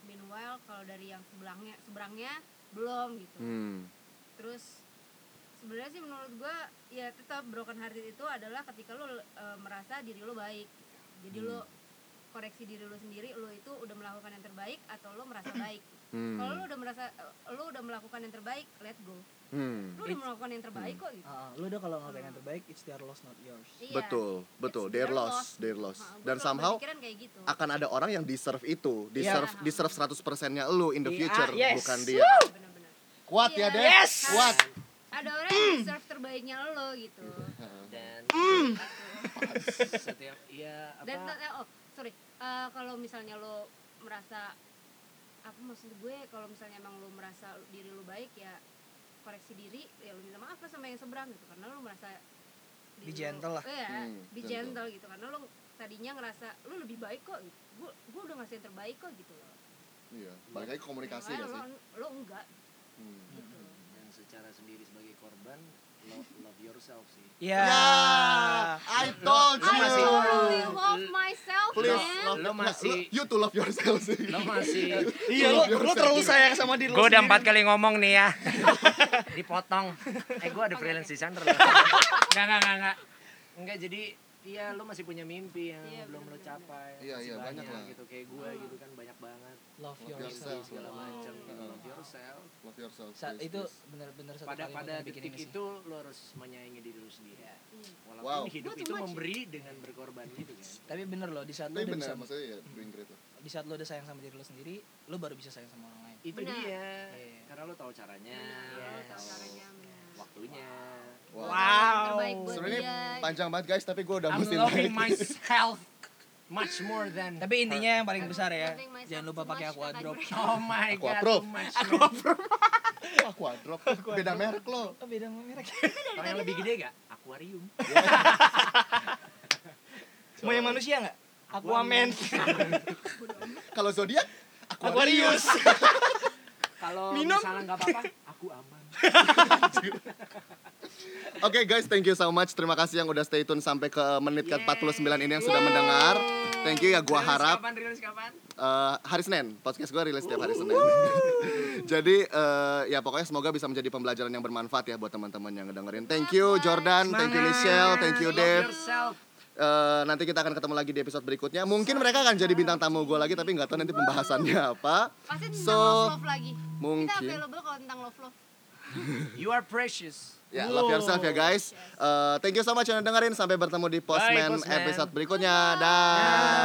Meanwhile kalau dari yang sebelangnya, seberangnya belum gitu Hmm. Terus sebenarnya sih menurut gue ya tetap broken heart itu adalah ketika lo eh, merasa diri lo baik Jadi lo Hmm. koreksi diri lo sendiri Lo itu udah melakukan yang terbaik atau lo merasa baik Hmm. kalau lo udah merasa eh, lo udah melakukan yang terbaik let go Hmm. lu udah melakukan yang terbaik kok gitu Ah, lu udah kalau ngelakuin yang terbaik it's their loss not yours Iya. Betul, betul. It's Their their loss, loss. their loss. Nah, gua Dan selalu somehow berpikiran kayak gitu akan ada orang yang deserve itu, deserve Iya. deserve 100%-nya lo in the Iya, future yes. bukan dia. benar-benar Kuat Iya. ya, Dev. Yes. Kuat. Hmm. ada orang yang serve terbaiknya lo gitu Iya. dan setiap ya Hmm. dan apa oh sorry Eh, kalau misalnya lo merasa apa maksud gue kalau misalnya emang lo merasa diri lo baik ya koreksi diri ya lo minta maaf lah sama yang seberang gitu karena lo merasa Be diri lo- gentle lah. iya Hmm, be gentle. gentle gitu karena lo tadinya ngerasa lo lebih baik kok gitu. gue gue udah ngasih yang terbaik kok gitu loh Iya, balik lagi ke komunikasi Yang gak lain sih? lo, lo enggak Hmm. gitu dan secara sendiri sebagai korban love, love yourself sih ya I told Iya, I masih- totally love myself Iya Please man love Lo masih- lo- you to love yourself sih. Lo masih iya lu, lu terlalu sayang sama diri lu Gue udah sendiri. empat kali ngomong nih ya. Dipotong. Eh gue ada freelance designer loh. Enggak, enggak, enggak, enggak. enggak jadi Iya, lo masih punya mimpi yang Iya, belum lo bener-bener. Hmm. capai. Iya, masih iya, banyak lah. gitu kayak gue gitu kan banyak banget. love Love yourself yourself. Oh. segala Wow. macam gitu. Wow. Love yourself. Love yourself. Sa- please, itu please. bener-bener satu Pada kalimat pada yang bikin detik ini sih. itu lo harus menyayangi diri lo sendiri. Hmm. Wow. Walaupun hidup Iya. Gua too itu much. memberi dengan berkorban gitu kan. tapi bener loh di saat lu Tapi udah benar bisa maksudnya ya doing great lah. di saat lu udah sayang sama diri lu sendiri lu baru bisa sayang sama orang lain Itu Benar. dia. Iya. Karena lo tahu caranya. Benar, lo lo tahu tahu caranya, benar. Waktunya. Wow. Yang terbaik buat Sebenarnya dia panjang banget guys, tapi gue udah I'm mesti loving naik. myself much more than tapi intinya yang paling I'm besar ya loving myself jangan lupa too pakai much, aqua kakak drop gue. Oh my Aku god. approve. much aku more. approve Wah, kuadrop. Beda merek lo. oh, beda sama merek Kalau yang lebih gede gak? Aquarium. mau yang manusia nggak Aquaman Kalau zodiak Aquarius Kalau Minum. misalnya nggak apa-apa, aku aman. Oke guys, thank you so much. Terima kasih yang udah stay tune sampai ke menit ke 49 ini yang sudah mendengar. Thank you ya gua harap Kapan rilis kapan? eh, hari Senin, podcast gua rilis tiap hari Senin. Jadi eh, ya pokoknya semoga bisa menjadi pembelajaran yang bermanfaat ya buat teman-teman yang ngedengerin. Thank you Jordan, thank you Michelle, thank you Love Dave. yourself. Eh, nanti kita akan ketemu lagi di episode berikutnya. Mungkin mereka akan jadi bintang tamu gua lagi tapi nggak tahu nanti pembahasannya apa. Pasti tentang So, love love lagi. Kita mungkin- available kalau tentang love love. You are precious. Ya, love yourself ya guys. Eh, thank you so much yang udah dengerin. Sampai bertemu di Postman, Postman. episode berikutnya. Dah.